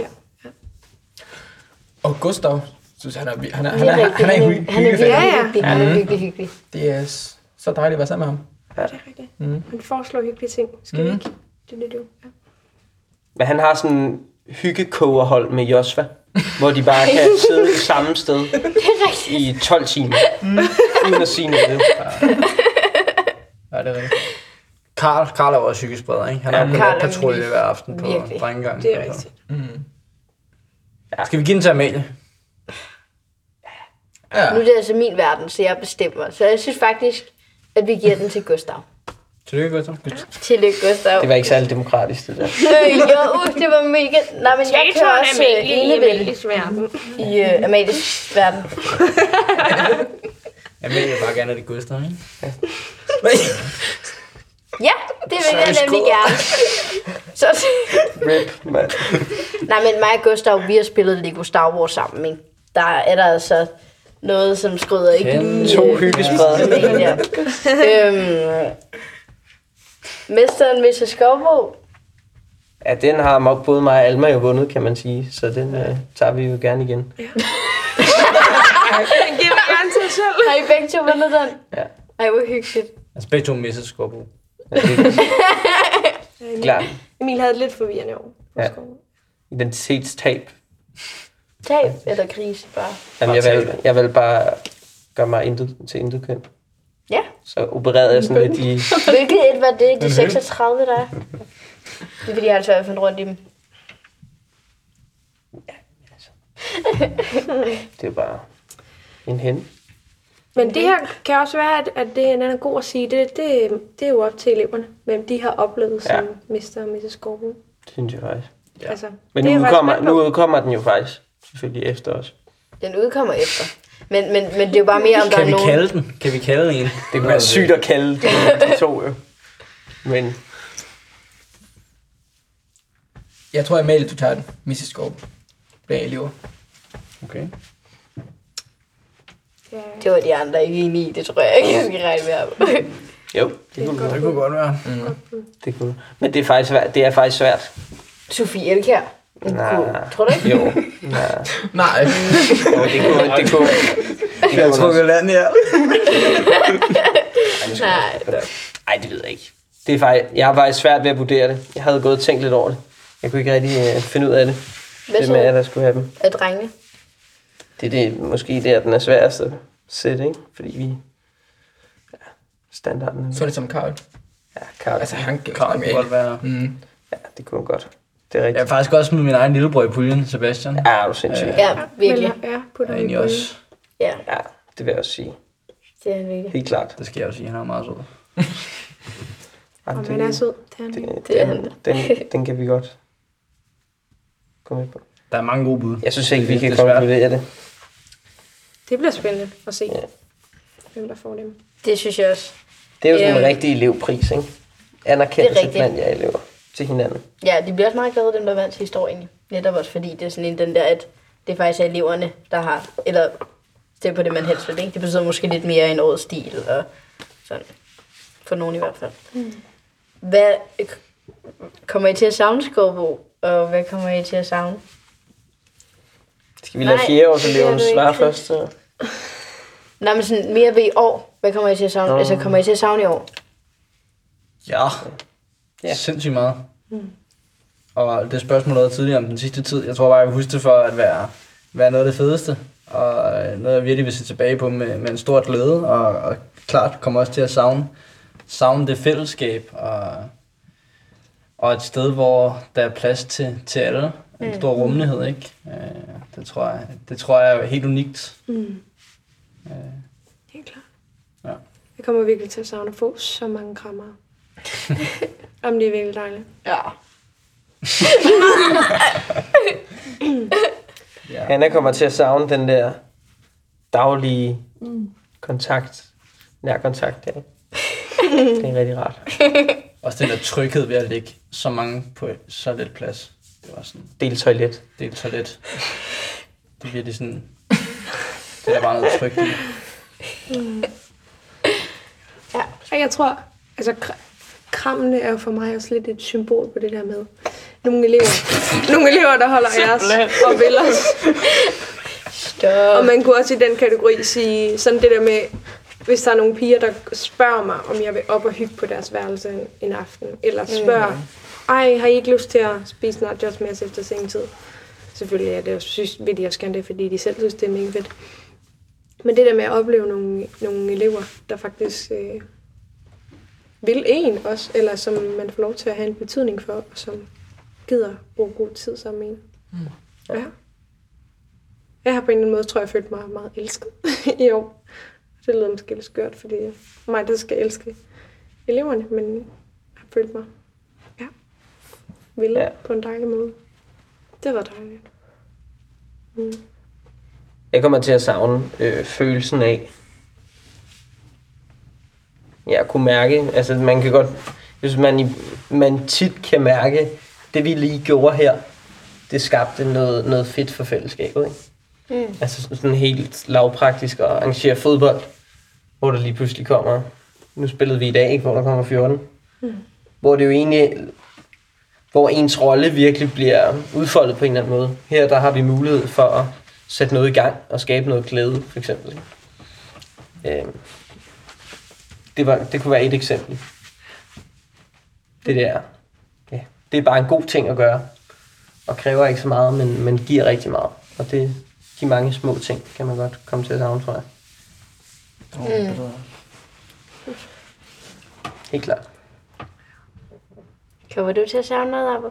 Speaker 7: Og Gustav, synes jeg, han er, han er, han
Speaker 2: Det
Speaker 7: er, han er, han er,
Speaker 2: rigtigt.
Speaker 7: han er,
Speaker 2: han er virkelig hyggelig. Han er
Speaker 5: Ja, ja.
Speaker 2: virkelig hyggelig.
Speaker 3: Mhm.
Speaker 7: Det er s- så dejligt at være sammen med ham.
Speaker 5: Det er rigtigt. Mm. Han foreslår hyggelige ting. Skal vi ikke? Det er det, du. Ja.
Speaker 6: Men han har sådan en hyggekogerhold med Josva, hvor de bare kan sidde samme sted i 12 timer, mm. uden at sige noget.
Speaker 7: Ja, det er rigtigt. Karl, Karl er jo også psykisk bredere, ikke? Han er jo på
Speaker 2: Karl er
Speaker 7: patrulje
Speaker 2: virkelig-
Speaker 7: hver aften på
Speaker 2: virkelig.
Speaker 7: drengegangen.
Speaker 5: Det er
Speaker 7: altså.
Speaker 5: rigtigt.
Speaker 7: Skal vi give den til Amalie?
Speaker 2: Nu er det altså min verden, så jeg bestemmer. Så jeg synes faktisk, at vi giver den til Gustav.
Speaker 7: Tillykke, Gustav.
Speaker 2: Tillykke, Gustav.
Speaker 6: Det var ikke særlig demokratisk, det der.
Speaker 2: Øh, jo, uh, det var mega... Nej, men jeg kan også øh, enevælde
Speaker 5: verden.
Speaker 2: i øh, Amalies verden.
Speaker 7: Amalie vil bare gerne, at det er Gustav, ikke?
Speaker 2: Ja, det vil jeg nemlig gerne. Så,
Speaker 6: Rip, mand.
Speaker 2: nej, men mig og Gustav, vi har spillet Lego Star Wars sammen, ikke? Der er der altså noget, som skrider ikke lige...
Speaker 6: To
Speaker 2: øh,
Speaker 6: hyggespredere.
Speaker 2: sådan en der. øhm, Mesteren Mrs. Skovbo.
Speaker 6: Ja, den har mo- både mig og Alma jo vundet, kan man sige. Så den øh, tager vi jo gerne igen.
Speaker 5: Den giver mig gerne til os selv.
Speaker 2: Har I begge to vundet den?
Speaker 6: Ja.
Speaker 2: Ej, hvor hyggeligt.
Speaker 7: Altså begge to misser Skorbo.
Speaker 6: Ja, det er klart.
Speaker 5: Øh, Emil havde et lidt forvirrende år.
Speaker 6: Ja. Identitetstab.
Speaker 2: Tab eller krise bare.
Speaker 6: Jamen, jeg, valgte, jeg valgte bare gøre mig intet, til intet køn.
Speaker 2: Ja.
Speaker 6: Så opererede jeg sådan lidt i...
Speaker 2: Hvilket et var det? De 36, der er? Det er fordi, jeg har svært ved at finde rundt i dem.
Speaker 6: Det er jo bare en hen.
Speaker 5: Men det her kan også være, at, at det er en anden god at sige. Det, det, det er jo op til eleverne, hvem de har oplevet
Speaker 6: Ja.
Speaker 5: ja. som Mr. og Mrs. Skorbo.
Speaker 6: synes jeg faktisk.
Speaker 5: Ja. Altså,
Speaker 6: Men
Speaker 5: det er
Speaker 6: nu
Speaker 5: jeg faktisk
Speaker 6: udkommer,
Speaker 5: med på.
Speaker 6: nu udkommer den jo faktisk selvfølgelig efter os.
Speaker 2: Den udkommer efter. Men, men, men det er jo bare mere, om der
Speaker 3: Kan
Speaker 2: er
Speaker 3: vi
Speaker 2: nogen...
Speaker 3: kalde den? Kan vi kalde en?
Speaker 6: Det kunne være sygt at kalde de, de to jo. Men
Speaker 7: Jeg tror, Amalie, du tager den. Mrs. Skorp. Blandt elever.
Speaker 1: Okay.
Speaker 5: Ja.
Speaker 2: Det var de andre ikke enige i, det tror jeg ikke, jeg skal regne med ham.
Speaker 6: jo, det kunne
Speaker 3: Det
Speaker 6: det,
Speaker 3: kunne godt være.
Speaker 6: det kunne. Men det er faktisk svært. Det er faktisk svært.
Speaker 2: Sofie Elkær. Hun
Speaker 6: Nej.
Speaker 2: kunne- Tror du ikke?
Speaker 6: Jo. Nej.
Speaker 7: Nej.
Speaker 6: Jo, det kunne, det kunne, det
Speaker 3: Jeg
Speaker 6: kunne
Speaker 3: tror, vi lander her.
Speaker 2: Nej.
Speaker 6: Nej, det ved jeg ikke. Det er faktisk, jeg har faktisk svært ved at vurdere det. Jeg havde gået og tænkt lidt over det. Jeg kunne ikke rigtig øh, finde ud af det.
Speaker 2: Hvad
Speaker 6: det med, at
Speaker 2: så
Speaker 6: der skulle have dem.
Speaker 2: af drengene?
Speaker 6: Det er det, måske der, den er sværest at sætte, ikke? Fordi vi... Ja, standarden.
Speaker 7: Så er det som Karl.
Speaker 6: Ja, Karl.
Speaker 7: Altså, han gik
Speaker 3: Klar, det kunne godt være.
Speaker 7: Mm.
Speaker 6: Ja, det kunne han godt. Det er
Speaker 3: Jeg
Speaker 6: rigtigt.
Speaker 3: har faktisk også smidt min egen lillebror i puljen, Sebastian.
Speaker 6: Ja, er du sindssyg.
Speaker 2: Ja, virkelig.
Speaker 5: Men, ja, på
Speaker 3: Og egentlig også.
Speaker 2: Ja,
Speaker 6: Ja, det vil jeg også sige.
Speaker 2: det er han virkelig.
Speaker 6: Helt klart.
Speaker 3: Det skal jeg jo sige, han er meget sød.
Speaker 6: Ja,
Speaker 5: Og
Speaker 6: det,
Speaker 5: man er sød. Det er han
Speaker 6: det,
Speaker 5: virkelig.
Speaker 6: det,
Speaker 2: Det er
Speaker 6: den, den, den kan vi godt komme med på.
Speaker 3: Der er mange gode bud.
Speaker 6: Jeg synes ikke, vi
Speaker 3: Det er
Speaker 6: kan
Speaker 3: svært.
Speaker 6: konkludere det.
Speaker 5: det bliver spændende at se,
Speaker 6: Ja.
Speaker 5: hvem der får dem.
Speaker 2: Det synes jeg også.
Speaker 6: Det er jo sådan en
Speaker 2: Øhm.
Speaker 6: rigtig elevpris, ikke?
Speaker 2: Det er
Speaker 6: Anerkendelse
Speaker 2: rigtigt.
Speaker 6: blandt jer elever til hinanden.
Speaker 2: Ja, de bliver også meget glade, dem der vandt sidste år egentlig. Netop også fordi det er sådan en den der, at det faktisk er eleverne, der har, eller det er på det, man helst vil, ikke? Det betyder måske lidt mere end årets stil, og sådan. For nogen i hvert fald.
Speaker 6: Mm.
Speaker 2: Hvad kommer I til at savne Skovbo, og hvad kommer I til at savne?
Speaker 6: Skal vi lade
Speaker 2: Nej,
Speaker 6: fjerdeårseleven
Speaker 2: det er du
Speaker 6: svare
Speaker 2: ikke.
Speaker 6: først? så?
Speaker 2: Nej, men sådan mere ved i år. Hvad kommer I til at savne?
Speaker 6: Nå.
Speaker 2: Altså, kommer I til at savne i år?
Speaker 3: Ja.
Speaker 6: Ja.
Speaker 3: ja. Sindssygt meget. Og det spørgsmål, der var tidligere om den sidste tid, jeg tror bare, jeg vil huske det for at være, være noget af det fedeste. Og øh, noget, jeg virkelig vil se tilbage på med, med en stor glæde. Og, og klart kommer også til at savne, savne det fællesskab. Og, og et sted, hvor der er plads til, til alle. En stor rummelighed, ikke? Øh, det, tror jeg, det tror jeg er helt unikt.
Speaker 5: Mm.
Speaker 3: Øh,
Speaker 5: Helt klart.
Speaker 3: Ja.
Speaker 5: Jeg kommer virkelig til at savne at få så mange krammer. Om det er virkelig dejligt.
Speaker 4: Ja.
Speaker 3: ja.
Speaker 6: Hanna kommer til at savne den der daglige
Speaker 2: Mm.
Speaker 6: kontakt, nærkontakt. Ja. det er rigtig rart.
Speaker 3: Også den der tryghed ved at lægge så mange på så lidt plads. Det var sådan,
Speaker 6: Del toilet.
Speaker 3: det er et toilet. Det er virkelig sådan, det er der bare noget trygt i.
Speaker 5: Ja, og jeg tror, altså kr- krammene er jo for mig også lidt et symbol på det der med nogle elever, nogle elever der holder af os og vil os. Og
Speaker 2: Stop.
Speaker 5: man kunne også i den kategori sige sådan det der med, hvis der er nogle piger, der spørger mig, om jeg vil op og hygge på deres værelse en, en aften, eller spørger, ej, har I ikke lyst til at spise nachos med os efter sengetid? Selvfølgelig er det, jeg synes, vil de også gerne det, fordi de selv synes, det er mega fedt. Men det der med at opleve nogle, nogle elever, der faktisk øh, vil en også, eller som man får lov til at have en betydning for, og som gider bruge god tid sammen med en. Mm. Ja. Jeg har på en eller anden måde, tror jeg, følt mig meget elsket i år. Det lyder måske lidt skørt, fordi det er mig, der skal elske eleverne, men jeg har følt mig ja, vild
Speaker 6: Ja.
Speaker 5: ja. på en dejlig måde. Det var dejligt.
Speaker 6: Jeg kommer til at savne øh, følelsen af, jeg kunne mærke, altså man kan godt, hvis man, i, man tit kan mærke, det vi lige gjorde her, det skabte noget, noget fedt for fællesskabet, ikke? Mm. Altså sådan- sådan helt lavpraktisk at arrangere fodbold, hvor der lige pludselig kommer, nu spillede vi i dag, ikke? Hvor der kommer 14. Mm. Hvor det jo egentlig, hvor ens rolle virkelig bliver udfoldet på en eller anden måde. Her der har vi mulighed for at sætte noget i gang og skabe noget glæde, for eksempel. Ikke? Øhm det, var, det kunne være et eksempel. Det der, ja, det er bare en god ting at gøre, og kræver ikke så meget, men, men giver rigtig meget. Og det, de mange små ting kan man godt komme til at savne, tror jeg. Helt klart.
Speaker 2: Kommer du til at savne noget, Abba?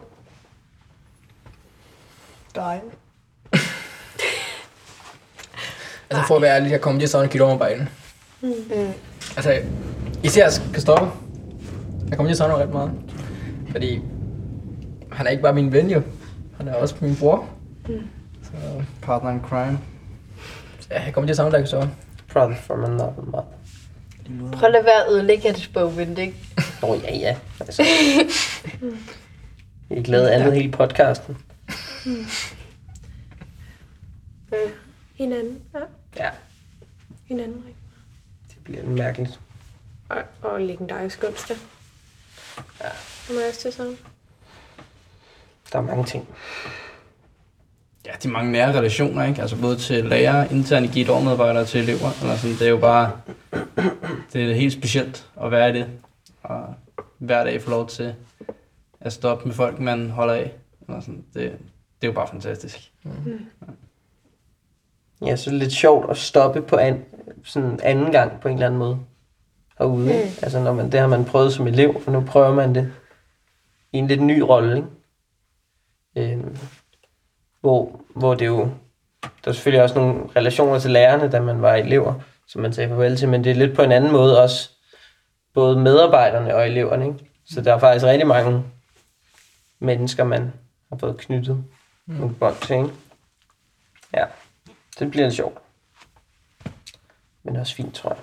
Speaker 7: Altså for at være ærlig, jeg kommer til at savne kilometerbejden. Altså, især Kristoffer. Jeg kommer til at savne ham ret meget. Fordi han er ikke bare min ven jo. Han er også min bror. Så øh,
Speaker 3: Partner in crime.
Speaker 7: ja, jeg kommer til at savne dig, Kristoffer.
Speaker 6: Brother from another mother.
Speaker 2: Prøv at lade være at ødelægge hans bogvente, ikke?
Speaker 6: Nå ja, ja. Altså. Jeg glæder andet hele podcasten.
Speaker 5: Hinanden. Ja,
Speaker 6: Ja,
Speaker 5: hinanden. Ikke?
Speaker 6: det bliver mærkeligt.
Speaker 5: Og, og legendarisk onsdag. Ja. Må jeg også til sådan?
Speaker 6: Der er mange ting.
Speaker 3: Ja, de mange nære relationer, ikke? Altså både til lærere, interne GIT-medarbejdere til elever. Eller sådan. Det er jo bare... Det er helt specielt at være i det. Og hver dag få lov til at stoppe med folk, man holder af. Eller sådan. Det, det er jo bare fantastisk.
Speaker 6: Ja, så er det lidt sjovt at stoppe på an, sådan anden gang på en eller anden måde herude. Mm. Altså, når man, det har man prøvet som elev, og nu prøver man det i en lidt ny rolle, ikke? Øhm, hvor, hvor det jo... Der er selvfølgelig også nogle relationer til lærerne, da man var elever, som man sagde farvel til, men det er lidt på en anden måde også, både medarbejderne og eleverne, ikke? Så der er faktisk rigtig mange mennesker, man har fået knyttet mm. nogle bånd til, ikke? Ja. Det bliver lidt sjovt. Men også fint, tror jeg.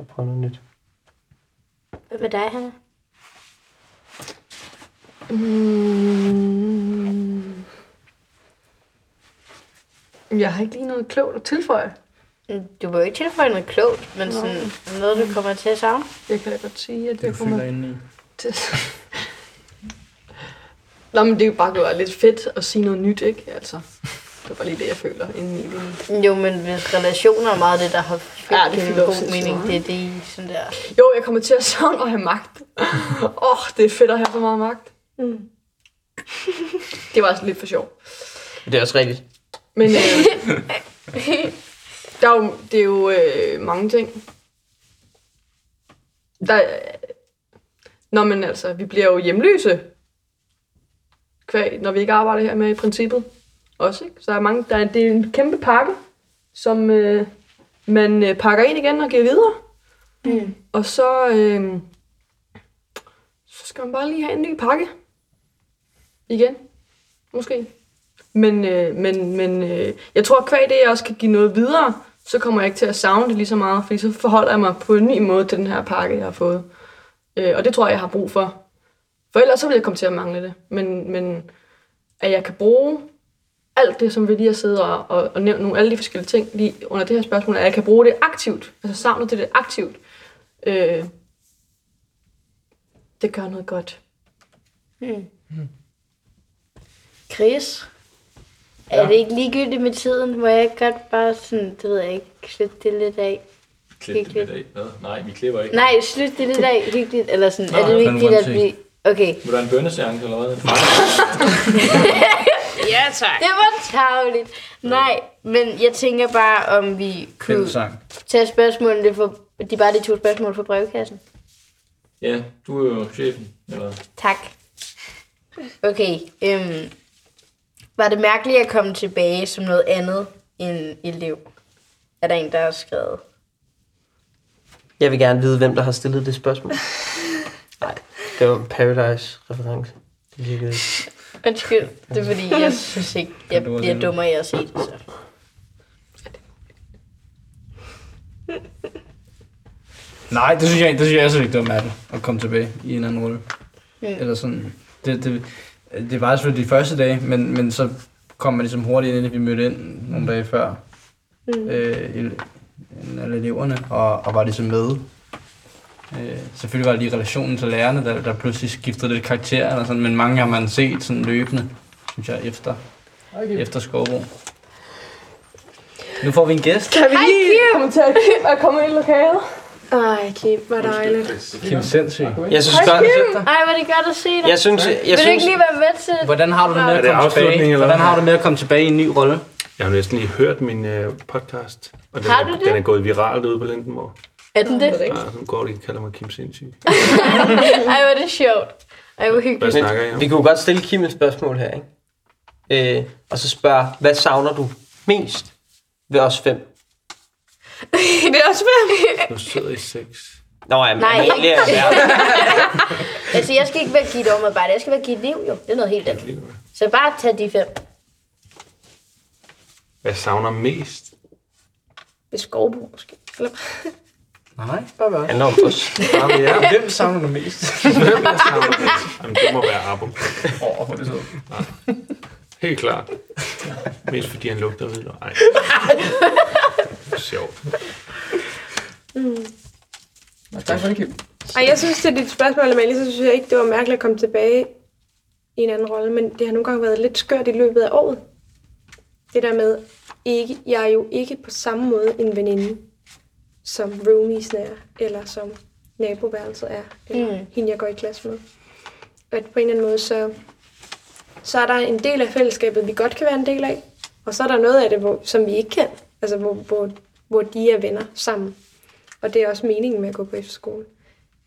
Speaker 6: Og prøve noget nyt.
Speaker 2: Hvad med dig, Hanna?
Speaker 4: Jeg har ikke lige noget klogt at tilføje.
Speaker 2: Mm, Du var jo ikke tilføje noget klogt, men sådan noget, du kommer til at savne.
Speaker 4: Jeg kan da godt sige, at det, det kommer
Speaker 3: føler inde i.
Speaker 4: til... Nå, men det er jo bare gået lidt fedt at sige noget nyt, ikke? Altså, det er bare lige det, jeg føler inden i det.
Speaker 2: Mm, Jo, men hvis relationer er meget det, der har fyldt
Speaker 4: Ja, det
Speaker 2: en
Speaker 4: fylder også
Speaker 2: god
Speaker 4: sindssygt
Speaker 2: mening,
Speaker 4: meget.
Speaker 2: det er det I sådan der.
Speaker 4: Jo, jeg kommer til at savne at have magt. Åh, oh, det er fedt at have så meget magt.
Speaker 5: Mm.
Speaker 4: Det var altså lidt for sjov.
Speaker 6: Det er også rigtigt.
Speaker 4: Men øh, der er jo, det er jo øh, mange ting. Der, er- nå, men altså, vi bliver jo hjemløse, kvæg, når vi ikke arbejder her med i princippet. Også, ikke? Så der er mange, der er, det er en kæmpe pakke, som øh, man øh, pakker ind igen og giver videre. Mm. Og så, øh, så skal man bare lige have en ny pakke. Igen. Måske. Men, øh, men, men øh, jeg tror, at kvæg det, jeg også kan give noget videre, så kommer jeg ikke til at savne det lige så meget, fordi så forholder jeg mig på en ny måde til den her pakke, jeg har fået. Øh, og det tror jeg, jeg har brug for. For ellers så vil jeg komme til at mangle det. Men, men at jeg kan bruge alt det, som vi lige har siddet og, og, og nævnt, nogle alle de forskellige ting lige under det her spørgsmål, at jeg kan bruge det aktivt, altså savnet til det aktivt, øh, det gør noget godt.
Speaker 2: Chris, er det ikke ligegyldigt med tiden? Må jeg ikke godt bare sådan, det ved jeg ikke, slutte det lidt af?
Speaker 8: Klip det lidt af. Hvad? Nej, vi klipper ikke.
Speaker 2: Nej, slutte det lidt af hyggeligt, eller sådan, er det
Speaker 3: den
Speaker 2: vigtigt,
Speaker 3: one
Speaker 2: at
Speaker 3: take.
Speaker 2: vi... Okay,
Speaker 8: Vil du have en bønneseance eller hvad?
Speaker 5: Ja, tak.
Speaker 2: det var tageligt. Nej, men jeg tænker bare, om vi kunne
Speaker 3: Fællesang.
Speaker 2: tage spørgsmålene for... De bare de to spørgsmål fra brevkassen.
Speaker 8: Ja, du er jo chefen. Eller?
Speaker 2: Tak. Okay, øhm, var det mærkeligt at komme tilbage som noget andet end elev? Er der en, der har skrevet?
Speaker 6: Jeg vil gerne vide, hvem der har stillet det spørgsmål. Nej, det var en Paradise-reference. Det virkede ikke.
Speaker 2: Undskyld, det er fordi, jeg synes ikke, jeg bliver dummere af at se det så.
Speaker 3: Nej, det synes jeg, det synes jeg er så ikke dumt af det, at komme tilbage i en anden rolle. Mm. Eller sådan. Det, det, det var selvfølgelig de første dage, men, men så kom man ligesom hurtigt ind, at vi mødte ind nogle dage før mm. øh, ele- alle eleverne, og, og var ligesom med. Øh, selvfølgelig var det lige relationen til lærerne, der, der pludselig skiftede lidt karakter, eller sådan, men mange har man set sådan løbende, synes jeg, efter, okay. efter Skovbro. Nu får vi en gæst.
Speaker 4: Kan vi lige komme til at, at komme ind i lokalet?
Speaker 5: Ej, Kim, hvor dejligt.
Speaker 3: Kim Sindssyg.
Speaker 6: Jeg synes godt...
Speaker 2: Ej, hvor er det godt at se dig.
Speaker 6: Jeg synes... Jeg
Speaker 2: Vil du
Speaker 6: synes...
Speaker 2: ikke lige være med til det?
Speaker 3: Hvordan har du det med
Speaker 9: Er
Speaker 3: at
Speaker 9: det
Speaker 3: komme
Speaker 9: afslutning,
Speaker 3: tilbage?
Speaker 9: eller
Speaker 3: Hvordan
Speaker 9: hvad?
Speaker 3: har du det med at komme tilbage i en ny rolle?
Speaker 9: Jeg har næsten lige hørt min øh, podcast, og den,
Speaker 2: Har du
Speaker 9: er,
Speaker 2: det?
Speaker 9: den er gået viralt ude på Lindenborg.
Speaker 2: Er den det?
Speaker 9: Ja, nu går de og kalder mig Kim Sindssyg.
Speaker 2: Ej, hvor er det sjovt. Ej, hvor
Speaker 9: Hvad
Speaker 2: hyggeligt.
Speaker 9: snakker jeg om?
Speaker 6: Vi kunne godt stille Kim et spørgsmål her, ikke? Øh, og så spørge, hvad savner du mest ved os fem?
Speaker 5: det er også svært.
Speaker 9: Nu sidder I seks.
Speaker 6: Nå, jamen,
Speaker 2: Nej,
Speaker 6: jeg
Speaker 2: ikke.
Speaker 6: er verden.
Speaker 2: Altså, jeg skal ikke være give et omarbejde. Jeg skal være give et liv, jo. Det er noget helt andet. Så bare tag de fem.
Speaker 9: Hvad savner mest?
Speaker 5: Ved skovbrug måske. Eller,
Speaker 3: Nej, bare bare.
Speaker 6: handler om os.
Speaker 9: Jamen, ja.
Speaker 3: Hvem savner du mest?
Speaker 9: Jamen, det må være Abo.
Speaker 7: Åh, oh, hvor er det så.
Speaker 9: Helt klart. Mest fordi han lugter videre. Ej. Sjovt.
Speaker 7: Nå, tak for det, Kim.
Speaker 5: Ej, jeg synes, det er dit spørgsmål, Amalie, så synes jeg ikke, det var mærkeligt at komme tilbage i en anden rolle, men det har nogle gange været lidt skørt i løbet af året. Det der med, ikke, jeg er jo ikke på samme måde en veninde, som roomies er, eller som naboværelset er, eller mm. hende, jeg går i klasse med. At på en eller anden måde, så, så er der en del af fællesskabet, vi godt kan være en del af, og så er der noget af det, hvor, som vi ikke kan, altså hvor, hvor, hvor de er venner sammen. Og det er også meningen med at gå på efterskole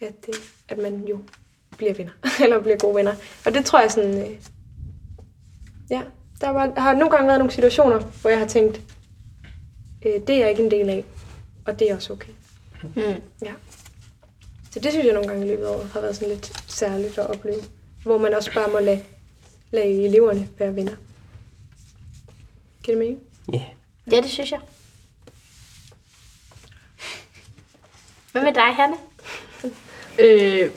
Speaker 5: at, øh, at man jo bliver venner, eller bliver gode venner. Og det tror jeg sådan, øh, ja, der var, har nogle gange været nogle situationer, hvor jeg har tænkt, øh, det er jeg ikke en del af, og det er også okay.
Speaker 2: Mm.
Speaker 5: Ja. Så det synes jeg nogle gange i løbet af året har været sådan lidt særligt at opleve, hvor man også bare må lade, lade eleverne være venner. Giver det mening?
Speaker 6: Ja.
Speaker 2: Ja, det synes jeg. Hvad med dig, Hanne?
Speaker 4: Øh,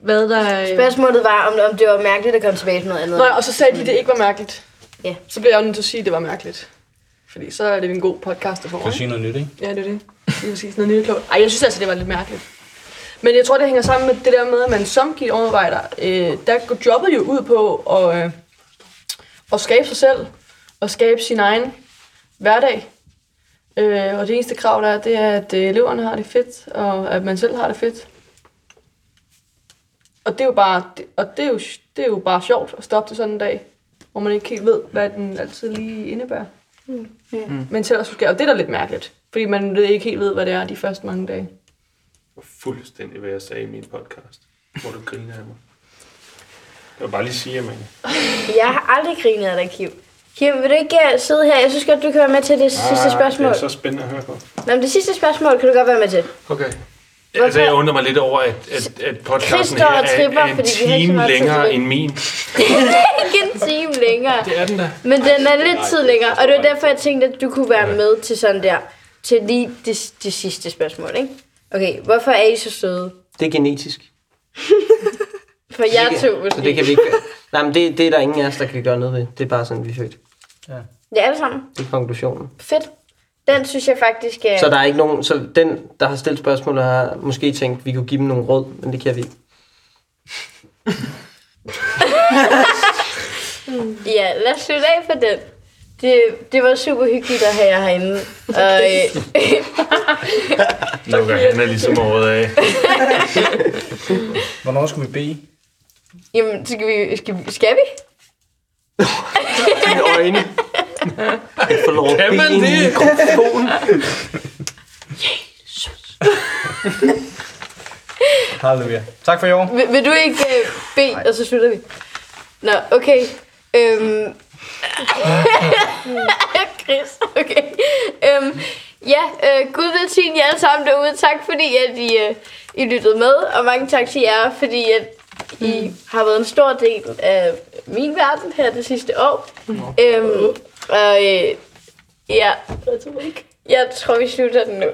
Speaker 4: hvad der... øh,
Speaker 2: Spørgsmålet var, om, om det var mærkeligt at komme tilbage til noget andet.
Speaker 4: Nej, og så sagde de, det ikke var mærkeligt.
Speaker 2: Ja.
Speaker 4: Så blev jeg jo nødt til at sige, at det var mærkeligt. Fordi så er det en god podcast at få.
Speaker 3: Du
Speaker 4: ikke?
Speaker 3: sige noget nyt, ikke?
Speaker 4: Ja, det er det. Det er præcis noget lille klogt. Ej, jeg synes altså, det var lidt mærkeligt. Men jeg tror, det hænger sammen med det der med, at man som gik overarbejder, øh, der går jobbet jo ud på at, øh, at skabe sig selv, og skabe sin egen hverdag. Øh, og det eneste krav, der er, det er, at øh, eleverne har det fedt, og at man selv har det fedt. Og det er jo bare, det, og det er jo, det er jo bare sjovt at stoppe det sådan en dag, hvor man ikke helt ved, hvad den altid lige indebærer. Men selv også, og det er da lidt mærkeligt, fordi man ved- ikke helt ved, hvad det er de første mange dage.
Speaker 9: var fuldstændig, hvad jeg sagde i min podcast, hvor du griner af mig. Jeg vil bare lige sige, at man...
Speaker 2: Jeg har aldrig grinet af dig, Kim. Kim, vil du ikke øh, sidde her? Jeg synes godt, du kan være med til det sidste
Speaker 9: Ah, Det
Speaker 2: spørgsmål.
Speaker 9: er så spændende at høre på.
Speaker 2: Nå, men det sidste spørgsmål kan du godt være med til.
Speaker 9: Okay. Altså, jeg undrer mig lidt over, at, at, at podcasten
Speaker 2: Christer
Speaker 9: her
Speaker 2: og tripper,
Speaker 9: er, er en
Speaker 2: fordi vi har ikke så
Speaker 9: time
Speaker 2: meget tid
Speaker 9: længere
Speaker 2: tilbage.
Speaker 9: end min.
Speaker 2: Ikke en time længere.
Speaker 9: Det er den da.
Speaker 2: Men den er lidt tid længere, og det var derfor, jeg tænkte, at du kunne være med til sådan der. Til lige det, det sidste spørgsmål, ikke? Okay, hvorfor er I så søde?
Speaker 6: Det er genetisk.
Speaker 2: For jeg
Speaker 6: Det kan-
Speaker 2: to måske.
Speaker 6: Så det kan vi ikke gøre. Nej, men det, det er der ingen af os, der kan gøre noget ved. Det er bare sådan, vi er født.
Speaker 2: Ja, alle sammen.
Speaker 6: Det er konklusionen.
Speaker 2: Fedt. Den synes jeg faktisk er...
Speaker 6: Så der er ikke nogen... Så den, der har stillet spørgsmålet, har måske tænkt, at vi kunne give dem nogle råd, men det kan vi ikke.
Speaker 2: Ja, lad os slutte af for den. Det, det var super hyggeligt at have jer herinde. Og, øh,
Speaker 9: Lukker han er ligesom året af.
Speaker 3: Hvornår skulle vi bede?
Speaker 2: jamen, skal vi, skal, vi- skal vi?
Speaker 6: Dine øjne. Jeg får lov at
Speaker 9: Kan man
Speaker 6: bede ind i
Speaker 9: det?
Speaker 6: mikrofonen.
Speaker 3: Halleluja. Tak for i år.
Speaker 2: Vil, vil du ikke øh, bede, og så slutter vi? Nå, okay. Øhm. Chris, okay. Øhm, ja, øh, Gud velsigne jer alle sammen derude. Tak fordi, at I, øh, I lyttede med, og mange tak til jer, fordi at I har været en stor del af min verden her det sidste år. Øhm, og øh, ja, jeg tror, vi slutter den nu.